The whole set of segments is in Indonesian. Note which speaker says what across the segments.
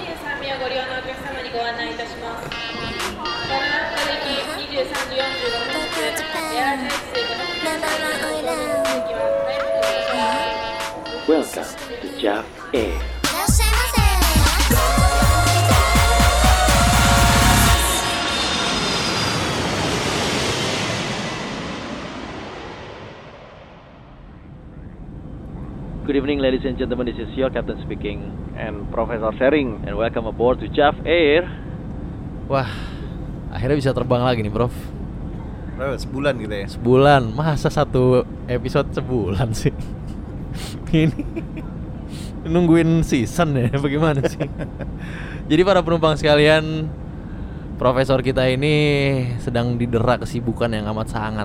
Speaker 1: ご利用のお客様にご案内いたします。ご覧の行き23時45分発、エアータイプ500名様のお席は早くお願いします。Welcome to Jav A. いらっしゃいませ。
Speaker 2: Good evening, ladies and gentlemen. This is your captain speaking
Speaker 3: and Professor Sharing.
Speaker 2: And welcome aboard to Jav Air.
Speaker 4: Wah, akhirnya bisa terbang lagi nih, Prof. Eh,
Speaker 3: Berapa? Sebulan gitu ya?
Speaker 4: Sebulan. Masa satu episode sebulan sih? Ini nungguin season ya? Bagaimana sih? Jadi para penumpang sekalian, Profesor kita ini sedang didera kesibukan yang amat sangat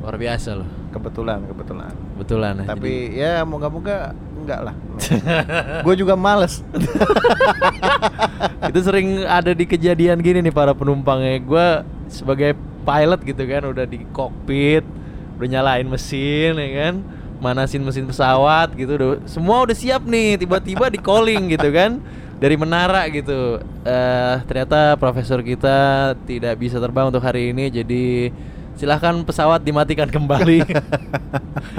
Speaker 4: luar biasa loh.
Speaker 3: Kebetulan, kebetulan.
Speaker 4: Kebetulan.
Speaker 3: Tapi jadi... ya moga-moga enggak lah. gue juga males.
Speaker 4: itu sering ada di kejadian gini nih para penumpangnya. Gue sebagai pilot gitu kan udah di kokpit, udah nyalain mesin ya kan, manasin mesin pesawat gitu. Udah, semua udah siap nih, tiba-tiba di calling gitu kan dari menara gitu. Uh, ternyata profesor kita tidak bisa terbang untuk hari ini jadi silahkan pesawat dimatikan kembali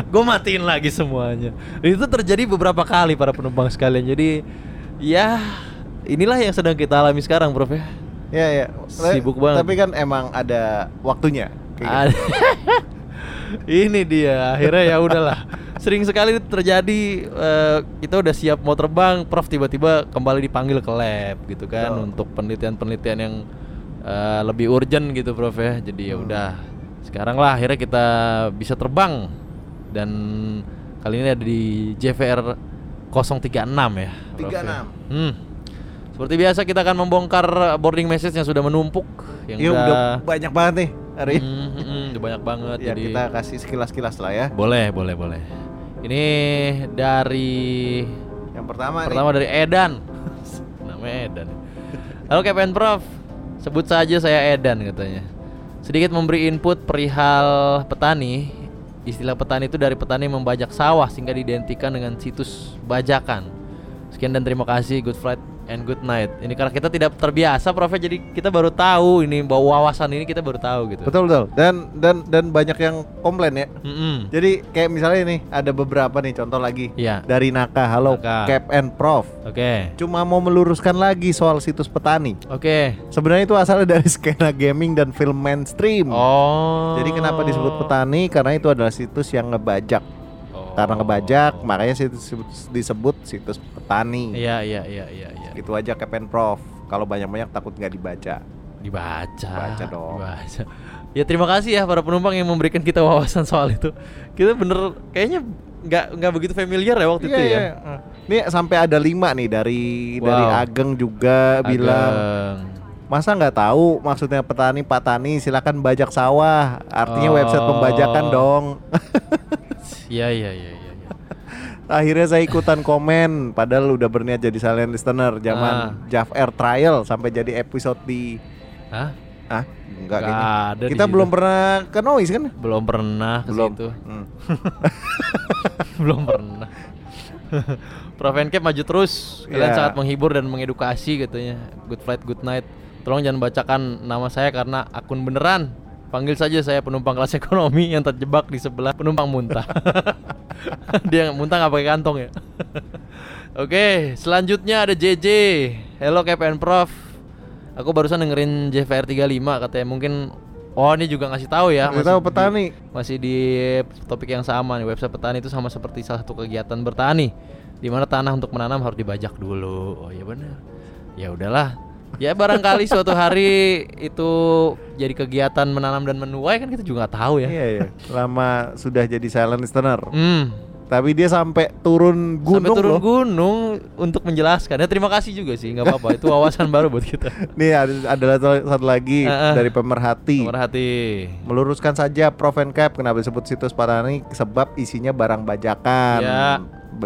Speaker 4: gue matiin lagi semuanya itu terjadi beberapa kali para penumpang sekalian jadi ya inilah yang sedang kita alami sekarang prof ya
Speaker 3: ya ya
Speaker 4: sibuk banget
Speaker 3: tapi kan emang ada waktunya
Speaker 4: kayak gitu. ini dia akhirnya ya udahlah sering sekali terjadi uh, kita udah siap mau terbang prof tiba-tiba kembali dipanggil ke lab gitu kan oh. untuk penelitian-penelitian yang uh, lebih urgent gitu prof ya jadi ya udah hmm sekarang lah akhirnya kita bisa terbang dan kali ini ada di JVR 036 ya
Speaker 3: 36
Speaker 4: hmm. seperti biasa kita akan membongkar boarding message yang sudah menumpuk
Speaker 3: yang ya, udah, udah banyak banget nih hari
Speaker 4: ini hmm, hmm, hmm, udah banyak banget
Speaker 3: ya jadi... Iya. kita kasih sekilas-kilas lah ya
Speaker 4: boleh boleh boleh ini dari
Speaker 3: yang pertama
Speaker 4: pertama nih. dari Edan namanya Edan halo KPN Prof sebut saja saya Edan katanya sedikit memberi input perihal petani. Istilah petani itu dari petani membajak sawah sehingga diidentikan dengan situs bajakan. Sekian dan terima kasih. Good flight and good night. Ini karena kita tidak terbiasa, Prof. Jadi kita baru tahu ini bahwa wawasan ini kita baru tahu gitu.
Speaker 3: Betul betul. Dan dan dan banyak yang komplain ya. Mm -hmm. Jadi kayak misalnya ini ada beberapa nih contoh lagi.
Speaker 4: Ya.
Speaker 3: Dari Naka, halo Iya. Naka. Cap and Prof.
Speaker 4: Oke. Okay.
Speaker 3: Cuma mau meluruskan lagi soal situs petani.
Speaker 4: Oke. Okay.
Speaker 3: Sebenarnya itu asalnya dari skena gaming dan film mainstream.
Speaker 4: Oh.
Speaker 3: Jadi kenapa disebut petani? Karena itu adalah situs yang ngebajak karena ngebajak oh. makanya disebut, disebut situs petani
Speaker 4: iya iya iya iya ya.
Speaker 3: itu aja kepen prof kalau banyak banyak takut nggak dibaca
Speaker 4: dibaca
Speaker 3: baca dong dibaca.
Speaker 4: ya terima kasih ya para penumpang yang memberikan kita wawasan soal itu kita bener kayaknya nggak nggak begitu familiar ya waktu yeah, itu ya yeah.
Speaker 3: Iya, ini sampai ada lima nih dari wow. dari ageng juga ageng. bilang masa nggak tahu maksudnya petani patani silakan bajak sawah artinya oh. website pembajakan dong
Speaker 4: Iya iya iya iya. Ya.
Speaker 3: Akhirnya saya ikutan komen, padahal udah berniat jadi silent listener zaman ah. Jav Air Trial sampai jadi episode di.
Speaker 4: Hah?
Speaker 3: Ah, enggak Gak kayaknya. Ada Kita belum situ. pernah ke noise kan?
Speaker 4: Belum pernah ke
Speaker 3: belum.
Speaker 4: situ. Hmm. belum pernah. Prof Encap maju terus. Kalian
Speaker 3: Iya.
Speaker 4: yeah. sangat menghibur dan mengedukasi katanya. Good flight, good night. Tolong jangan bacakan nama saya karena akun beneran. Panggil saja saya penumpang kelas ekonomi yang terjebak di sebelah penumpang muntah. Dia muntah nggak pakai kantong ya. Oke, selanjutnya ada JJ. Hello KPN Prof. Aku barusan dengerin JVR 35 katanya mungkin Oh ini juga ngasih tahu ya.
Speaker 3: Ngasih tahu petani.
Speaker 4: Di, masih di topik yang sama nih. Website petani itu sama seperti salah satu kegiatan bertani di mana tanah untuk menanam harus dibajak dulu. Oh iya benar. Ya udahlah, ya barangkali suatu hari itu jadi kegiatan menanam dan menuai kan kita juga nggak tahu ya.
Speaker 3: Iya iya. Lama sudah jadi silent listener.
Speaker 4: Hmm.
Speaker 3: Tapi dia sampai turun gunung
Speaker 4: Sampai turun
Speaker 3: loh.
Speaker 4: gunung untuk menjelaskan. Ya terima kasih juga sih, nggak apa-apa. itu wawasan baru buat kita.
Speaker 3: Nih ada adalah satu lagi uh, uh, dari pemerhati.
Speaker 4: Pemerhati.
Speaker 3: Meluruskan saja Prof Cap kenapa disebut situs Parani sebab isinya barang bajakan.
Speaker 4: Ya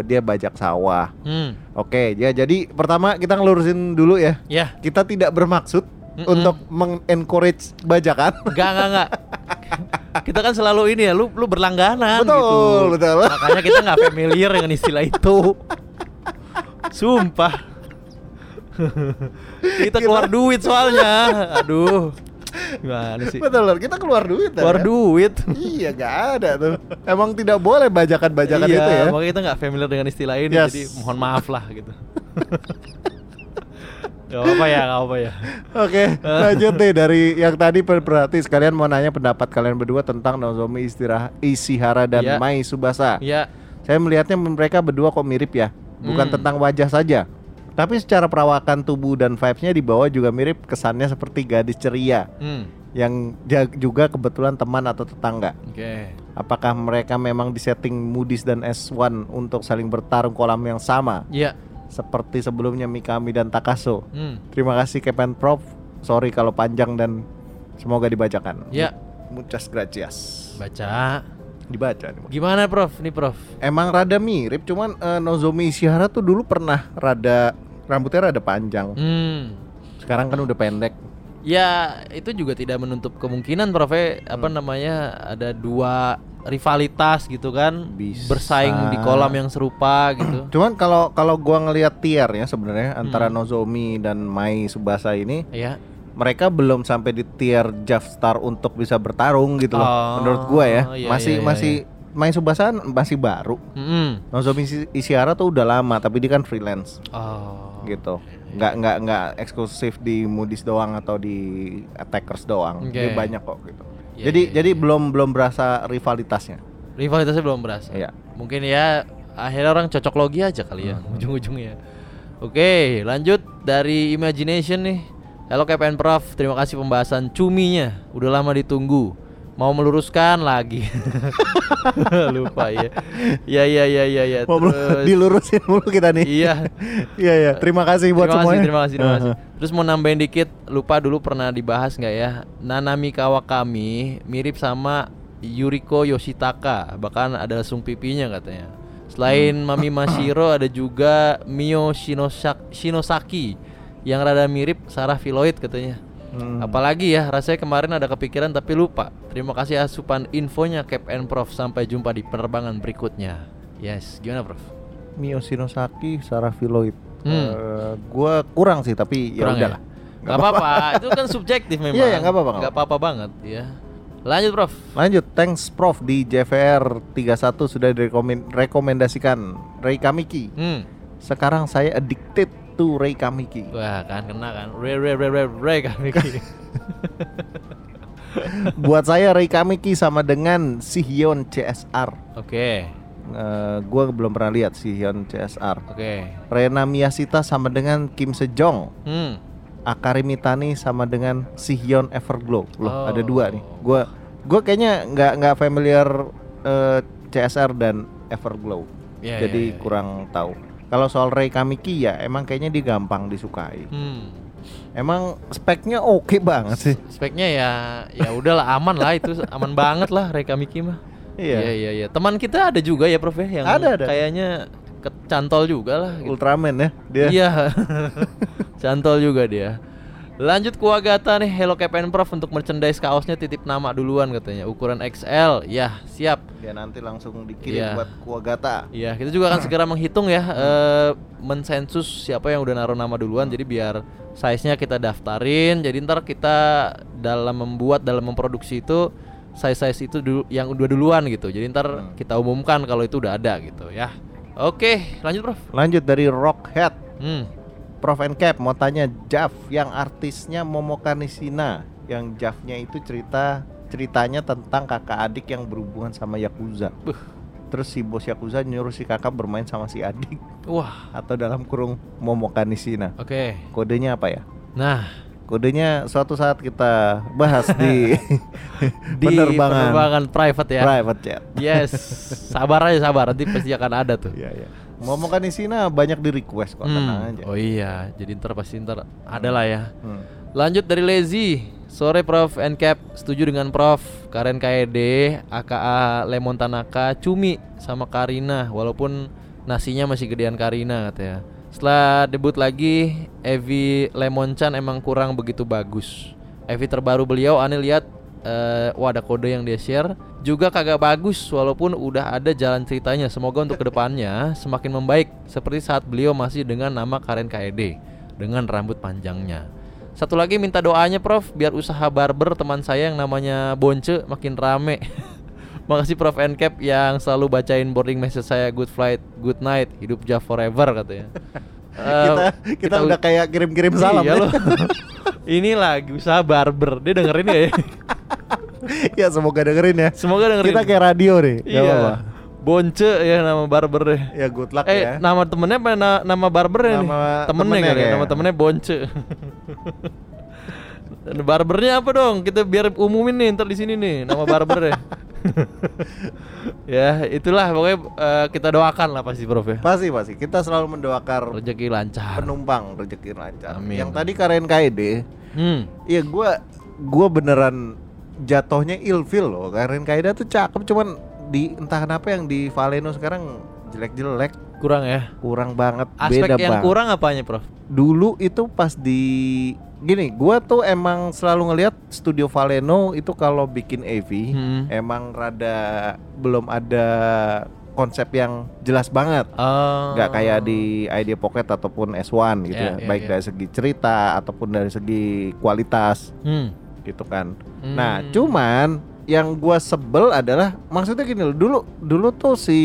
Speaker 3: dia bajak sawah.
Speaker 4: Hmm.
Speaker 3: Oke, ya jadi pertama kita ngelurusin dulu ya.
Speaker 4: Ya.
Speaker 3: Kita tidak bermaksud Mm-mm. untuk mengencourage bajakan.
Speaker 4: Enggak, enggak, enggak. kita kan selalu ini ya, lu lu berlangganan
Speaker 3: betul,
Speaker 4: gitu.
Speaker 3: Betul,
Speaker 4: Makanya kita nggak familiar dengan istilah itu. Sumpah. kita keluar duit soalnya. Aduh. Gimana sih?
Speaker 3: Betul Lur. kita keluar duit
Speaker 4: Keluar
Speaker 3: ya.
Speaker 4: duit.
Speaker 3: Iya gak ada tuh Emang tidak boleh bajakan-bajakan
Speaker 4: iya,
Speaker 3: itu ya
Speaker 4: makanya kita nggak familiar dengan istilah ini,
Speaker 3: Yes.
Speaker 4: jadi mohon maaf lah gitu. gak apa-apa ya, gak apa-apa ya.
Speaker 3: Oke, lanjut nih dari yang tadi berarti sekalian mau nanya pendapat kalian berdua tentang Nozomi Istirah Isihara dan
Speaker 4: Iya.
Speaker 3: Mai Subasa.
Speaker 4: Ya,
Speaker 3: Saya melihatnya mereka berdua kok mirip ya, bukan
Speaker 4: Hmm.
Speaker 3: tentang wajah saja, tapi secara perawakan tubuh dan vibes-nya di bawah juga mirip. Kesannya seperti gadis ceria
Speaker 4: hmm,
Speaker 3: yang ja- juga kebetulan teman atau tetangga.
Speaker 4: oke.
Speaker 3: Apakah mereka memang disetting Moody's dan S1 untuk saling bertarung kolam yang sama
Speaker 4: Ya,
Speaker 3: seperti sebelumnya Mikami dan Takaso?
Speaker 4: hmm,
Speaker 3: Terima kasih Kepen Prof. Sorry kalau panjang dan semoga dibacakan.
Speaker 4: ya.
Speaker 3: Muchas gracias.
Speaker 4: Baca.
Speaker 3: Dibaca nih.
Speaker 4: Gimana Prof? Nih Prof.
Speaker 3: Emang rada mirip, cuman eh, Nozomi Ishihara tuh dulu pernah rada rambutnya rada panjang.
Speaker 4: Hmm.
Speaker 3: Sekarang kan udah pendek.
Speaker 4: Ya, itu juga tidak menutup kemungkinan Prof. eh, Apa namanya? Ada dua rivalitas gitu kan,
Speaker 3: Bisa.
Speaker 4: bersaing di kolam yang serupa gitu.
Speaker 3: Cuman kalau kalau gua ngelihat tier ya sebenarnya
Speaker 4: Hmm.
Speaker 3: antara Nozomi dan Mai Subasa ini,
Speaker 4: ya.
Speaker 3: mereka belum sampai di tier Javstar untuk bisa bertarung gitu loh.
Speaker 4: Oh,
Speaker 3: Menurut gua ya,
Speaker 4: iya, iya,
Speaker 3: masih
Speaker 4: iya,
Speaker 3: masih Mai Subasa masih baru.
Speaker 4: Hmm.
Speaker 3: Nozomi Ishi- Ishihara tuh udah lama, tapi dia kan freelance.
Speaker 4: Oh.
Speaker 3: gitu nggak nggak nggak eksklusif di Moody's doang atau di Attackers doang
Speaker 4: Oke.
Speaker 3: Dia banyak kok gitu
Speaker 4: Iya,
Speaker 3: jadi
Speaker 4: iya,
Speaker 3: jadi belum belum berasa rivalitasnya
Speaker 4: Rivalitasnya belum berasa.
Speaker 3: Iya.
Speaker 4: Mungkin ya akhirnya orang cocok logi aja kali ya ujung-ujungnya. Oke, lanjut dari Imagination nih. Halo KPN Prof, terima kasih pembahasan cuminya. Udah lama ditunggu. Mau meluruskan lagi. Lupa ya. Ya ya ya ya ya.
Speaker 3: Mau belum-
Speaker 4: Terus-
Speaker 3: dilurusin mulu kita nih
Speaker 4: Iya.
Speaker 3: iya iya terima kasih buat
Speaker 4: terima
Speaker 3: semuanya Uh-huh.
Speaker 4: Kasih, terima kasih, terima kasih.
Speaker 3: Heeh.
Speaker 4: Terus mau nambahin dikit, lupa dulu pernah dibahas nggak ya? Nanami Kawakami mirip sama Yuriko Yoshitaka, bahkan ada lesung pipinya katanya. Selain
Speaker 3: Hmm.
Speaker 4: Mami Mashiro ada juga Mio Shinosak- Shinosaki yang rada mirip Sarah Filoid katanya.
Speaker 3: Hmm.
Speaker 4: Apalagi ya, rasanya kemarin ada kepikiran tapi lupa. Terima kasih asupan infonya Cap and Prof. Sampai jumpa di penerbangan berikutnya. Yes, gimana Prof?
Speaker 3: Mio Shinosaki Sarah Filoid
Speaker 4: Hmm.
Speaker 3: Eh, gua kurang sih tapi ya
Speaker 4: Kurang
Speaker 3: udahlah
Speaker 4: Gak apa-apa, itu kan subjektif memang.
Speaker 3: Iya, ya, nggak apa-apa, nggak
Speaker 4: Nggak apa-apa banget, ya. Lanjut, Prof.
Speaker 3: Lanjut, thanks Prof di JVR 31 sudah direkomendasikan Rei Kamiki.
Speaker 4: Hmm.
Speaker 3: Sekarang saya addicted to Rei Kamiki.
Speaker 4: Wah, kan kena kan. Re re re re re kan Miki.
Speaker 3: Buat saya Rei Kamiki sama dengan Sihyon CSR.
Speaker 4: Oke.
Speaker 3: Eh, gua belum pernah lihat Sihyon CSR.
Speaker 4: Oke.
Speaker 3: Rena Miyashita sama dengan Kim Sejong.
Speaker 4: Hmm.
Speaker 3: Akari Mitani sama dengan Sihyon Everglow. Loh,
Speaker 4: Oh.
Speaker 3: ada dua nih. Gua gua kayaknya nggak nggak familiar eh, CSR dan Everglow.
Speaker 4: Ya, ya,
Speaker 3: Jadi
Speaker 4: ya, ya.
Speaker 3: kurang tahu. Kalau soal Rei Kamiki ya emang kayaknya dia gampang disukai.
Speaker 4: Hmm.
Speaker 3: Emang speknya oke banget sih.
Speaker 4: Speknya ya ya udahlah aman lah itu aman banget lah Reka Miki mah.
Speaker 3: Iya.
Speaker 4: Iya iya iya. Teman kita ada juga ya Prof ya yang
Speaker 3: Ada, ada.
Speaker 4: kayaknya kecantol juga lah gitu.
Speaker 3: Ultraman ya dia.
Speaker 4: Iya. Cantol juga dia. Lanjut ke Wagata nih, Hello KPN Prof untuk merchandise kaosnya titip nama duluan katanya. Ukuran XL. Ya, siap.
Speaker 3: Ya nanti langsung dikirim
Speaker 4: Iya.
Speaker 3: buat Kuagata.
Speaker 4: Iya, kita juga akan segera menghitung ya, eh, mensensus siapa yang udah naruh nama duluan. Jadi biar size-nya kita daftarin. Jadi ntar kita dalam membuat, dalam memproduksi itu size-size itu dulu, yang udah duluan gitu. Jadi ntar kita umumkan kalau itu udah ada gitu ya. Oke, lanjut Prof.
Speaker 3: Lanjut dari Rockhead.
Speaker 4: Hmm.
Speaker 3: Prof and Cap mau tanya Jav yang artisnya Momokanisina yang Javnya itu cerita ceritanya tentang kakak adik yang berhubungan sama Yakuza terus si bos Yakuza nyuruh si kakak bermain sama si adik
Speaker 4: Wah,
Speaker 3: atau dalam kurung Momokanisina
Speaker 4: oke.
Speaker 3: kodenya apa ya
Speaker 4: Nah,
Speaker 3: kodenya suatu saat kita bahas di,
Speaker 4: di penerbangan, private ya.
Speaker 3: private chat
Speaker 4: Yes, sabar aja sabar, nanti pasti akan ada tuh.
Speaker 3: Iya iya. Momokanisina banyak di request kok tenang
Speaker 4: Hmm,
Speaker 3: aja
Speaker 4: Oh iya, jadi ntar pasti ntar ada lah ya.
Speaker 3: Hmm.
Speaker 4: Lanjut dari Lazy. Sore Prof and Cap, setuju dengan Prof. Karen E KED, AKA Lemon Tanaka, Cumi sama Karina walaupun nasinya masih gedean Karina katanya. Setelah debut lagi, Evi Lemon Chan emang kurang begitu bagus. Evi terbaru beliau aneh lihat eh, wah ada kode yang dia share juga kagak bagus walaupun udah ada jalan ceritanya. Semoga untuk kedepannya semakin membaik seperti saat beliau masih dengan nama Karen KED. dengan rambut panjangnya. Satu lagi minta doanya Prof biar usaha barber teman saya yang namanya Bonce makin rame. Makasih Prof Encap yang selalu bacain boarding message saya good flight, good night, hidup Jav forever katanya. Eh,
Speaker 3: kita, kita
Speaker 4: u-
Speaker 3: udah kayak kirim-kirim salam
Speaker 4: Iya
Speaker 3: ya.
Speaker 4: loh. Ini lagi usaha barber. Dia dengerin gak ya?
Speaker 3: ya semoga dengerin ya.
Speaker 4: Semoga dengerin.
Speaker 3: Kita kayak radio nih. nggak
Speaker 4: Iya.
Speaker 3: apa-apa.
Speaker 4: Bonce ya nama barber deh.
Speaker 3: Ya good luck
Speaker 4: eh,
Speaker 3: ya.
Speaker 4: nama temennya apa na- nama barbernya nih?
Speaker 3: Nama
Speaker 4: Temennya,
Speaker 3: temennya
Speaker 4: kali ya,
Speaker 3: kayaknya.
Speaker 4: nama temennya Bonce. Dan barbernya apa dong? Kita biar umumin nih ntar di sini nih nama barbernya. ya, itulah pokoknya eh, kita doakan lah pasti Prof ya.
Speaker 3: Pasti pasti. Kita selalu mendoakan
Speaker 4: Rezeki lancar.
Speaker 3: penumpang rezeki lancar.
Speaker 4: Amin.
Speaker 3: Yang tadi Karen KD,
Speaker 4: Hmm.
Speaker 3: ya gua gua beneran jatuhnya ilfil loh. Karen Kaida tuh cakep cuman di entah kenapa yang di Valeno sekarang jelek-jelek
Speaker 4: Kurang ya.
Speaker 3: kurang banget
Speaker 4: Aspek
Speaker 3: beda
Speaker 4: yang
Speaker 3: banget.
Speaker 4: kurang apanya, Prof?
Speaker 3: dulu itu pas di gini gua tuh emang selalu ngelihat studio Valeno itu kalau bikin AV
Speaker 4: Hmm.
Speaker 3: emang rada belum ada konsep yang jelas banget
Speaker 4: Oh.
Speaker 3: nggak kayak di Idea Pocket ataupun S1 gitu
Speaker 4: Iya,
Speaker 3: ya
Speaker 4: iya,
Speaker 3: baik
Speaker 4: iya.
Speaker 3: dari segi cerita ataupun dari segi kualitas
Speaker 4: Hmm.
Speaker 3: gitu kan
Speaker 4: Hmm.
Speaker 3: nah cuman yang gua sebel adalah maksudnya gini loh dulu dulu tuh si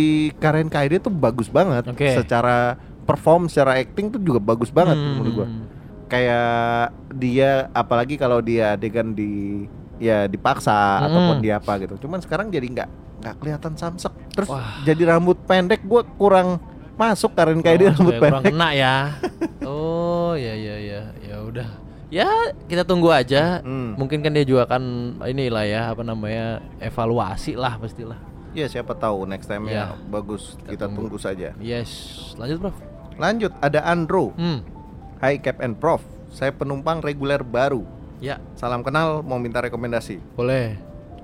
Speaker 3: Karen Kaede tuh bagus banget
Speaker 4: Oke.
Speaker 3: secara perform secara acting tuh juga bagus banget
Speaker 4: Hmm.
Speaker 3: menurut gua kayak dia apalagi kalau dia adegan di ya dipaksa
Speaker 4: Mm-mm.
Speaker 3: ataupun dia apa gitu. Cuman sekarang jadi nggak nggak kelihatan samsek. Terus
Speaker 4: Wah.
Speaker 3: jadi rambut pendek gua kurang masuk karena kayak dia
Speaker 4: Oh,
Speaker 3: rambut
Speaker 4: supaya kurang
Speaker 3: pendek.
Speaker 4: kena ya. Oh, ya ya ya. Ya udah. Ya, kita tunggu aja.
Speaker 3: Hmm.
Speaker 4: Mungkin kan dia juga akan inilah ya apa namanya evaluasi lah pastilah.
Speaker 3: Ya siapa tahu next time
Speaker 4: Ya.
Speaker 3: ya bagus kita,
Speaker 4: tunggu.
Speaker 3: tunggu. saja.
Speaker 4: Yes, lanjut Prof.
Speaker 3: Lanjut ada Andro.
Speaker 4: Hmm.
Speaker 3: Hai Cap and Prof. Saya penumpang reguler baru.
Speaker 4: Ya,
Speaker 3: Salam kenal mau minta rekomendasi.
Speaker 4: boleh.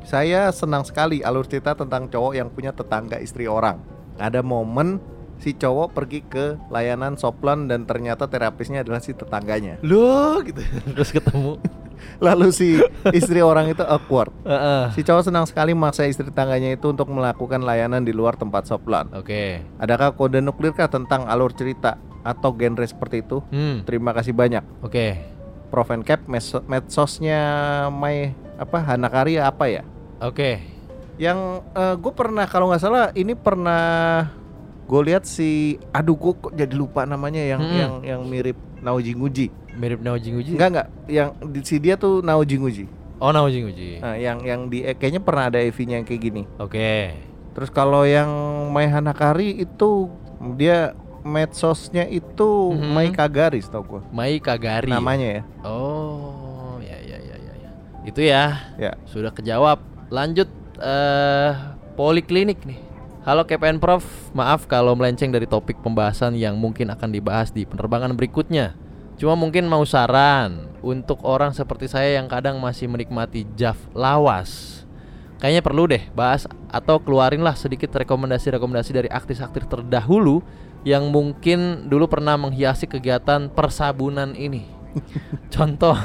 Speaker 3: Saya senang sekali alur cerita tentang cowok yang punya tetangga istri orang. Ada momen si cowok pergi ke layanan soplan dan ternyata terapisnya adalah si tetangganya.
Speaker 4: Loh gitu. Terus ketemu.
Speaker 3: Lalu si istri orang itu awkward.
Speaker 4: Heeh.
Speaker 3: Si cowok senang sekali memaksa istri tetangganya itu untuk melakukan layanan di luar tempat soplan.
Speaker 4: Oke.
Speaker 3: Adakah kode nuklirkah tentang alur cerita atau genre seperti itu?
Speaker 4: Hmm.
Speaker 3: Terima kasih banyak.
Speaker 4: Oke.
Speaker 3: Prof and Cap meso- medsosnya Mai apa Hanakari apa ya?
Speaker 4: Oke.
Speaker 3: yang gue pernah kalau nggak salah ini pernah gue lihat si aduh gue kok jadi lupa namanya yang
Speaker 4: Mm-mm.
Speaker 3: yang yang mirip Naoji Nguji
Speaker 4: Mirip Naoji Uji.
Speaker 3: enggak enggak yang di, si dia tuh Naoji Nguji
Speaker 4: Oh, Naoji Uji.
Speaker 3: nah, yang yang di eh, kayaknya pernah ada EV-nya yang kayak gini
Speaker 4: Oke.
Speaker 3: terus kalau yang Mai Hanakari itu dia medsosnya itu
Speaker 4: Mhm.
Speaker 3: Mai Kagari tau gue
Speaker 4: Mai Kagari.
Speaker 3: namanya ya
Speaker 4: Oh, ya ya ya ya ya. Itu ya.
Speaker 3: ya
Speaker 4: Sudah kejawab. Lanjut eh poliklinik nih. Halo KPN Prof, maaf kalau melenceng dari topik pembahasan yang mungkin akan dibahas di penerbangan berikutnya. Cuma mungkin mau saran untuk orang seperti saya yang kadang masih menikmati Jav lawas. Kayaknya perlu deh bahas atau keluarinlah sedikit rekomendasi-rekomendasi dari aktif-aktif terdahulu yang mungkin dulu pernah menghiasi kegiatan persabunan ini. Contoh,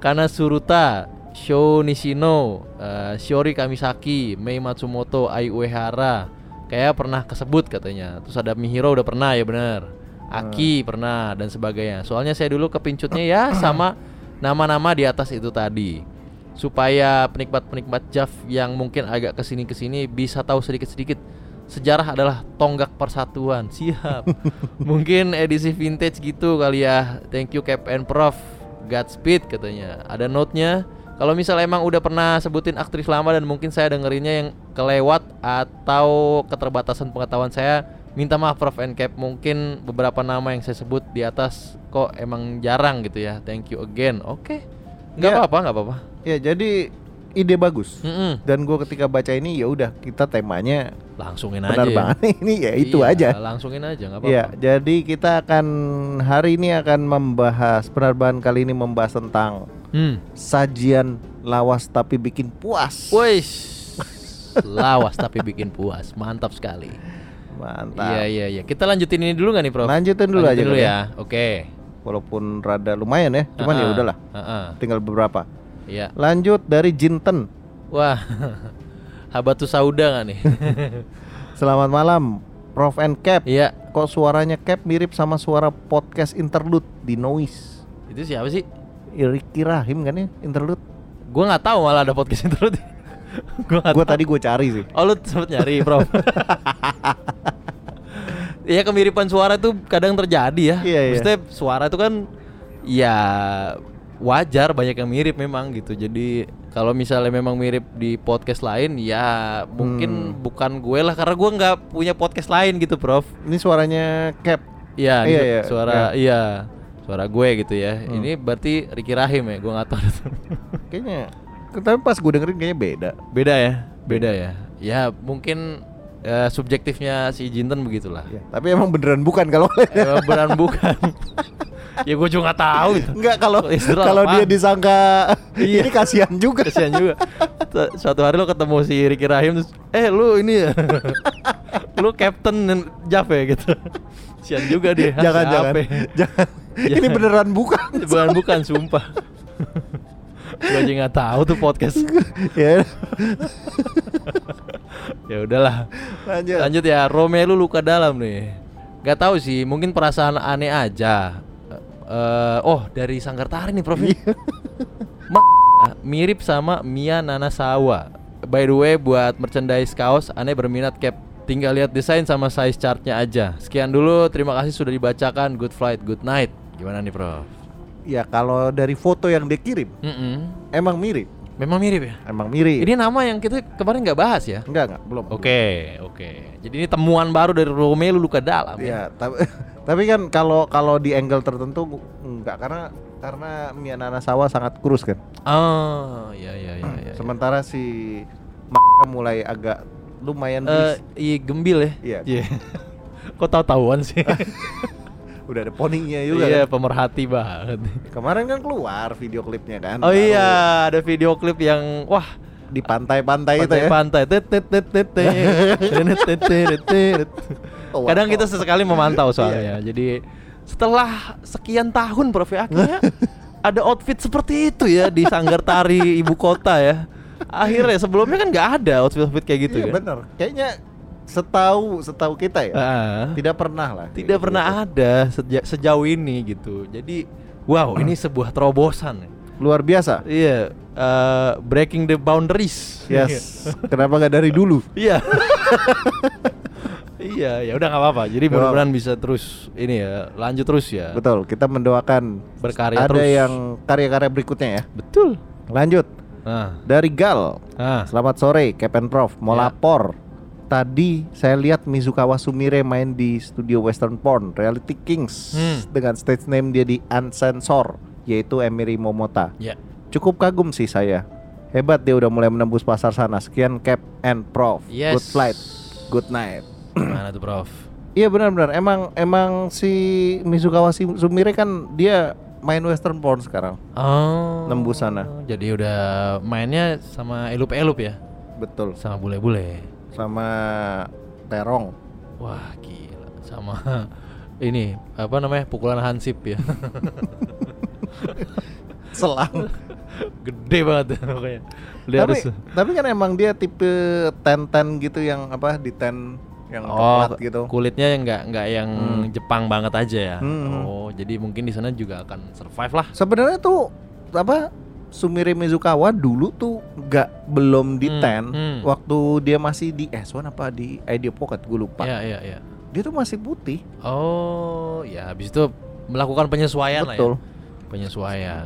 Speaker 4: Kana Suruta, Sho Nishino, eh, Shiori Kamisaki, Mei Matsumoto, Ai Uehara. Kayak pernah kesebut katanya. Terus ada Mihiro udah pernah ya bener. Aki pernah dan sebagainya. Soalnya saya dulu kepincutnya ya sama nama-nama di atas itu tadi supaya penikmat-penikmat Jav yang mungkin agak kesini kesini bisa tahu sedikit-sedikit sejarah adalah tonggak persatuan. Siap. mungkin edisi vintage gitu kali ya. Thank you Cap and Prof. Godspeed katanya. Ada note-nya. Kalau misal emang udah pernah sebutin aktris lama dan mungkin saya dengerinnya yang kelewat atau keterbatasan pengetahuan saya, minta maaf Prof and Cap. Mungkin beberapa nama yang saya sebut di atas kok emang jarang gitu ya. Thank you again. Oke. nggak
Speaker 3: Ya.
Speaker 4: apa-apa, nggak apa-apa.
Speaker 3: ya jadi ide bagus
Speaker 4: Mm-mm.
Speaker 3: dan gue ketika baca ini ya udah kita temanya
Speaker 4: Langsungin
Speaker 3: benar
Speaker 4: aja. ya.
Speaker 3: banget ini ya itu
Speaker 4: Iya,
Speaker 3: aja
Speaker 4: Langsungin aja nggak apa-apa.
Speaker 3: Iya, jadi kita akan hari ini akan membahas penerbangan kali ini membahas tentang
Speaker 4: Hmm.
Speaker 3: sajian lawas tapi bikin puas.
Speaker 4: Wais. Lawas tapi bikin puas. Mantap sekali. Iya
Speaker 3: Mantap.
Speaker 4: iya iya. Kita lanjutin ini dulu nggak nih, Prof?
Speaker 3: Lanjutin dulu aja
Speaker 4: dulu
Speaker 3: kali
Speaker 4: ya. Oke.
Speaker 3: Walaupun rada lumayan ya, cuman ya
Speaker 4: Ha-ha.
Speaker 3: udahlah,
Speaker 4: Ha-ha.
Speaker 3: tinggal beberapa.
Speaker 4: Iya.
Speaker 3: Lanjut dari Jinten.
Speaker 4: Wah. Habatus sauda nggak nih?
Speaker 3: Selamat malam. Prof and Cap.
Speaker 4: Iya.
Speaker 3: Kok suaranya Cap mirip sama suara podcast interlude di Noise?
Speaker 4: Itu siapa sih?
Speaker 3: Ricky Rahim kan ya interlude?
Speaker 4: Gua nggak tahu malah ada podcast itu. gua nggak
Speaker 3: Gue
Speaker 4: tahu.
Speaker 3: tadi gue cari sih.
Speaker 4: Oh lu sempet nyari Prof Iya kemiripan suara tuh kadang terjadi ya
Speaker 3: Iya, iya.
Speaker 4: Maksudnya suara tuh kan Ya wajar banyak yang mirip memang gitu Jadi kalau misalnya memang mirip di podcast lain Ya mungkin bukan gue lah Karena gue nggak punya podcast lain gitu Prof
Speaker 3: Ini suaranya Cap.
Speaker 4: Iya,
Speaker 3: Iya,
Speaker 4: ini
Speaker 3: iya,
Speaker 4: suara iya Suara gue gitu ya Ini berarti Ricky Rahim ya Gue nggak tahu
Speaker 3: Kayaknya. Tapi pas gue dengerin kayaknya beda.
Speaker 4: Beda ya Beda ya Ya mungkin eh, subjektifnya si Jinten begitulah
Speaker 3: Ya, tapi emang beneran bukan kalau
Speaker 4: Eh, beneran bukan ya gue juga nggak tahu itu
Speaker 3: Enggak kalau
Speaker 4: Eh, sebenarnya
Speaker 3: kalau dia
Speaker 4: apaan?
Speaker 3: disangka
Speaker 4: Iya.
Speaker 3: ini kasihan juga.
Speaker 4: kasihan juga Su- suatu hari lo ketemu si Ricky Rahim terus eh lu ini ya lu Captain Jaf ya gitu kasihan juga dia
Speaker 3: jangan, jangan,
Speaker 4: Siapa ya?
Speaker 3: jangan. Ini
Speaker 4: Jangan.
Speaker 3: beneran bukan.
Speaker 4: Iya. bukan bukan sumpah gue aja nggak tahu tuh podcast
Speaker 3: ya,
Speaker 4: ya udahlah
Speaker 3: lanjut.
Speaker 4: lanjut ya Romelu luka dalam nih nggak tahu sih mungkin perasaan aneh aja Eh, eh, oh dari Sangkartari nih Prof M- mirip sama Mia Nanasawa. By the way, buat merchandise kaos, aneh berminat cap. Tinggal lihat desain sama size chartnya aja. Sekian dulu, terima kasih sudah dibacakan. Good flight, good night. Gimana nih, Prof?
Speaker 3: Ya kalau dari foto yang dia kirim
Speaker 4: Mm-mm.
Speaker 3: emang mirip,
Speaker 4: Memang mirip ya.
Speaker 3: emang mirip.
Speaker 4: Ini nama yang kita kemarin nggak bahas ya.
Speaker 3: enggak enggak belum.
Speaker 4: Oke, oke. Jadi ini temuan baru dari Romelu luka dalam. ya?
Speaker 3: Ya, tapi tapi kan kalau kalau di angle tertentu enggak karena karena Mia Nanasawa sangat kurus kan.
Speaker 4: Oh, ya ya
Speaker 3: Hmm,
Speaker 4: ya ya.
Speaker 3: Sementara si mulai agak
Speaker 4: Eh,
Speaker 3: lumayan berisik.
Speaker 4: iya gembil ya.
Speaker 3: Iya.
Speaker 4: Kok tahu-tahuan sih?
Speaker 3: udah ada poninya juga.
Speaker 4: Iya,
Speaker 3: kan.
Speaker 4: pemerhati banget.
Speaker 3: Kemarin kan keluar video klipnya kan.
Speaker 4: Oh
Speaker 3: baru
Speaker 4: iya, ada video klip yang wah
Speaker 3: di pantai-pantai itu ya.
Speaker 4: pantai-pantai. Tet, tet, tet, tet, tet. Tet, tet, tet, tet, tet.
Speaker 3: Oh,
Speaker 4: Kadang
Speaker 3: wow. Iya.
Speaker 4: kita sesekali memantau soalnya. Jadi setelah sekian tahun Prof ya, akhirnya ada outfit seperti itu ya di Sanggar Tari ibu kota ya. Akhirnya sebelumnya kan nggak ada outfit-outfit kayak gitu
Speaker 3: Iya,
Speaker 4: kan.
Speaker 3: bener. Kayaknya setahu setahu kita ya.
Speaker 4: Ah.
Speaker 3: Tidak pernah lah. kayak
Speaker 4: tidak
Speaker 3: gitu.
Speaker 4: pernah ada sejak sejauh ini gitu. Jadi wow, ini sebuah terobosan.
Speaker 3: Luar biasa.
Speaker 4: Iya, eh, breaking the boundaries.
Speaker 3: Yes. Kenapa nggak dari dulu?
Speaker 4: Iya. iya, ya udah nggak apa-apa. Jadi
Speaker 3: Nggak
Speaker 4: mudah-mudahan bisa terus ini ya, lanjut terus ya.
Speaker 3: Betul. Kita mendoakan
Speaker 4: Berkarya
Speaker 3: ada
Speaker 4: terus.
Speaker 3: yang karya-karya berikutnya ya.
Speaker 4: Betul.
Speaker 3: Lanjut
Speaker 4: Nah,
Speaker 3: dari Gal.
Speaker 4: nah.
Speaker 3: Selamat sore, Kepen Prof. Mau
Speaker 4: Ya.
Speaker 3: lapor. Tadi saya lihat Mizukawa Sumire main di studio Western Porn Reality Kings
Speaker 4: Hmm.
Speaker 3: dengan stage name dia di Uncensor yaitu Emery Momota.
Speaker 4: Ya.
Speaker 3: Cukup kagum sih saya. Hebat dia udah mulai menembus pasar sana. Sekian Cap and Prof.
Speaker 4: Yes.
Speaker 3: Good flight. Good night.
Speaker 4: Mana tuh, Prof?
Speaker 3: Iya benar-benar. Emang emang si Mizukawa Si- Sumire kan dia main western porn sekarang.
Speaker 4: Oh.
Speaker 3: Nembus sana.
Speaker 4: Jadi udah mainnya sama elup-elup ya,
Speaker 3: Betul.
Speaker 4: sama bule-bule.
Speaker 3: Sama Terong.
Speaker 4: Wah, gila. Sama ini apa namanya? pukulan hansip ya.
Speaker 3: Selang.
Speaker 4: Gede banget pokoknya. Dia
Speaker 3: tapi,
Speaker 4: harus
Speaker 3: tapi kan emang dia tipe ten-ten gitu yang apa di ten yang
Speaker 4: Oh,
Speaker 3: coklat gitu.
Speaker 4: kulitnya yang nggak nggak yang Jepang banget aja ya.
Speaker 3: Hmm.
Speaker 4: Oh, jadi mungkin di sana juga akan survive lah.
Speaker 3: Sebenarnya tuh apa Sumire Mizukawa dulu tuh nggak belum di
Speaker 4: Hmm,
Speaker 3: ten
Speaker 4: hmm.
Speaker 3: waktu dia masih di S1 apa di Idea Pocket gue lupa.
Speaker 4: Iya, iya, iya.
Speaker 3: Dia tuh masih putih.
Speaker 4: Oh, ya habis itu melakukan penyesuaian lah
Speaker 3: Betul.
Speaker 4: ya. Penyesuaian.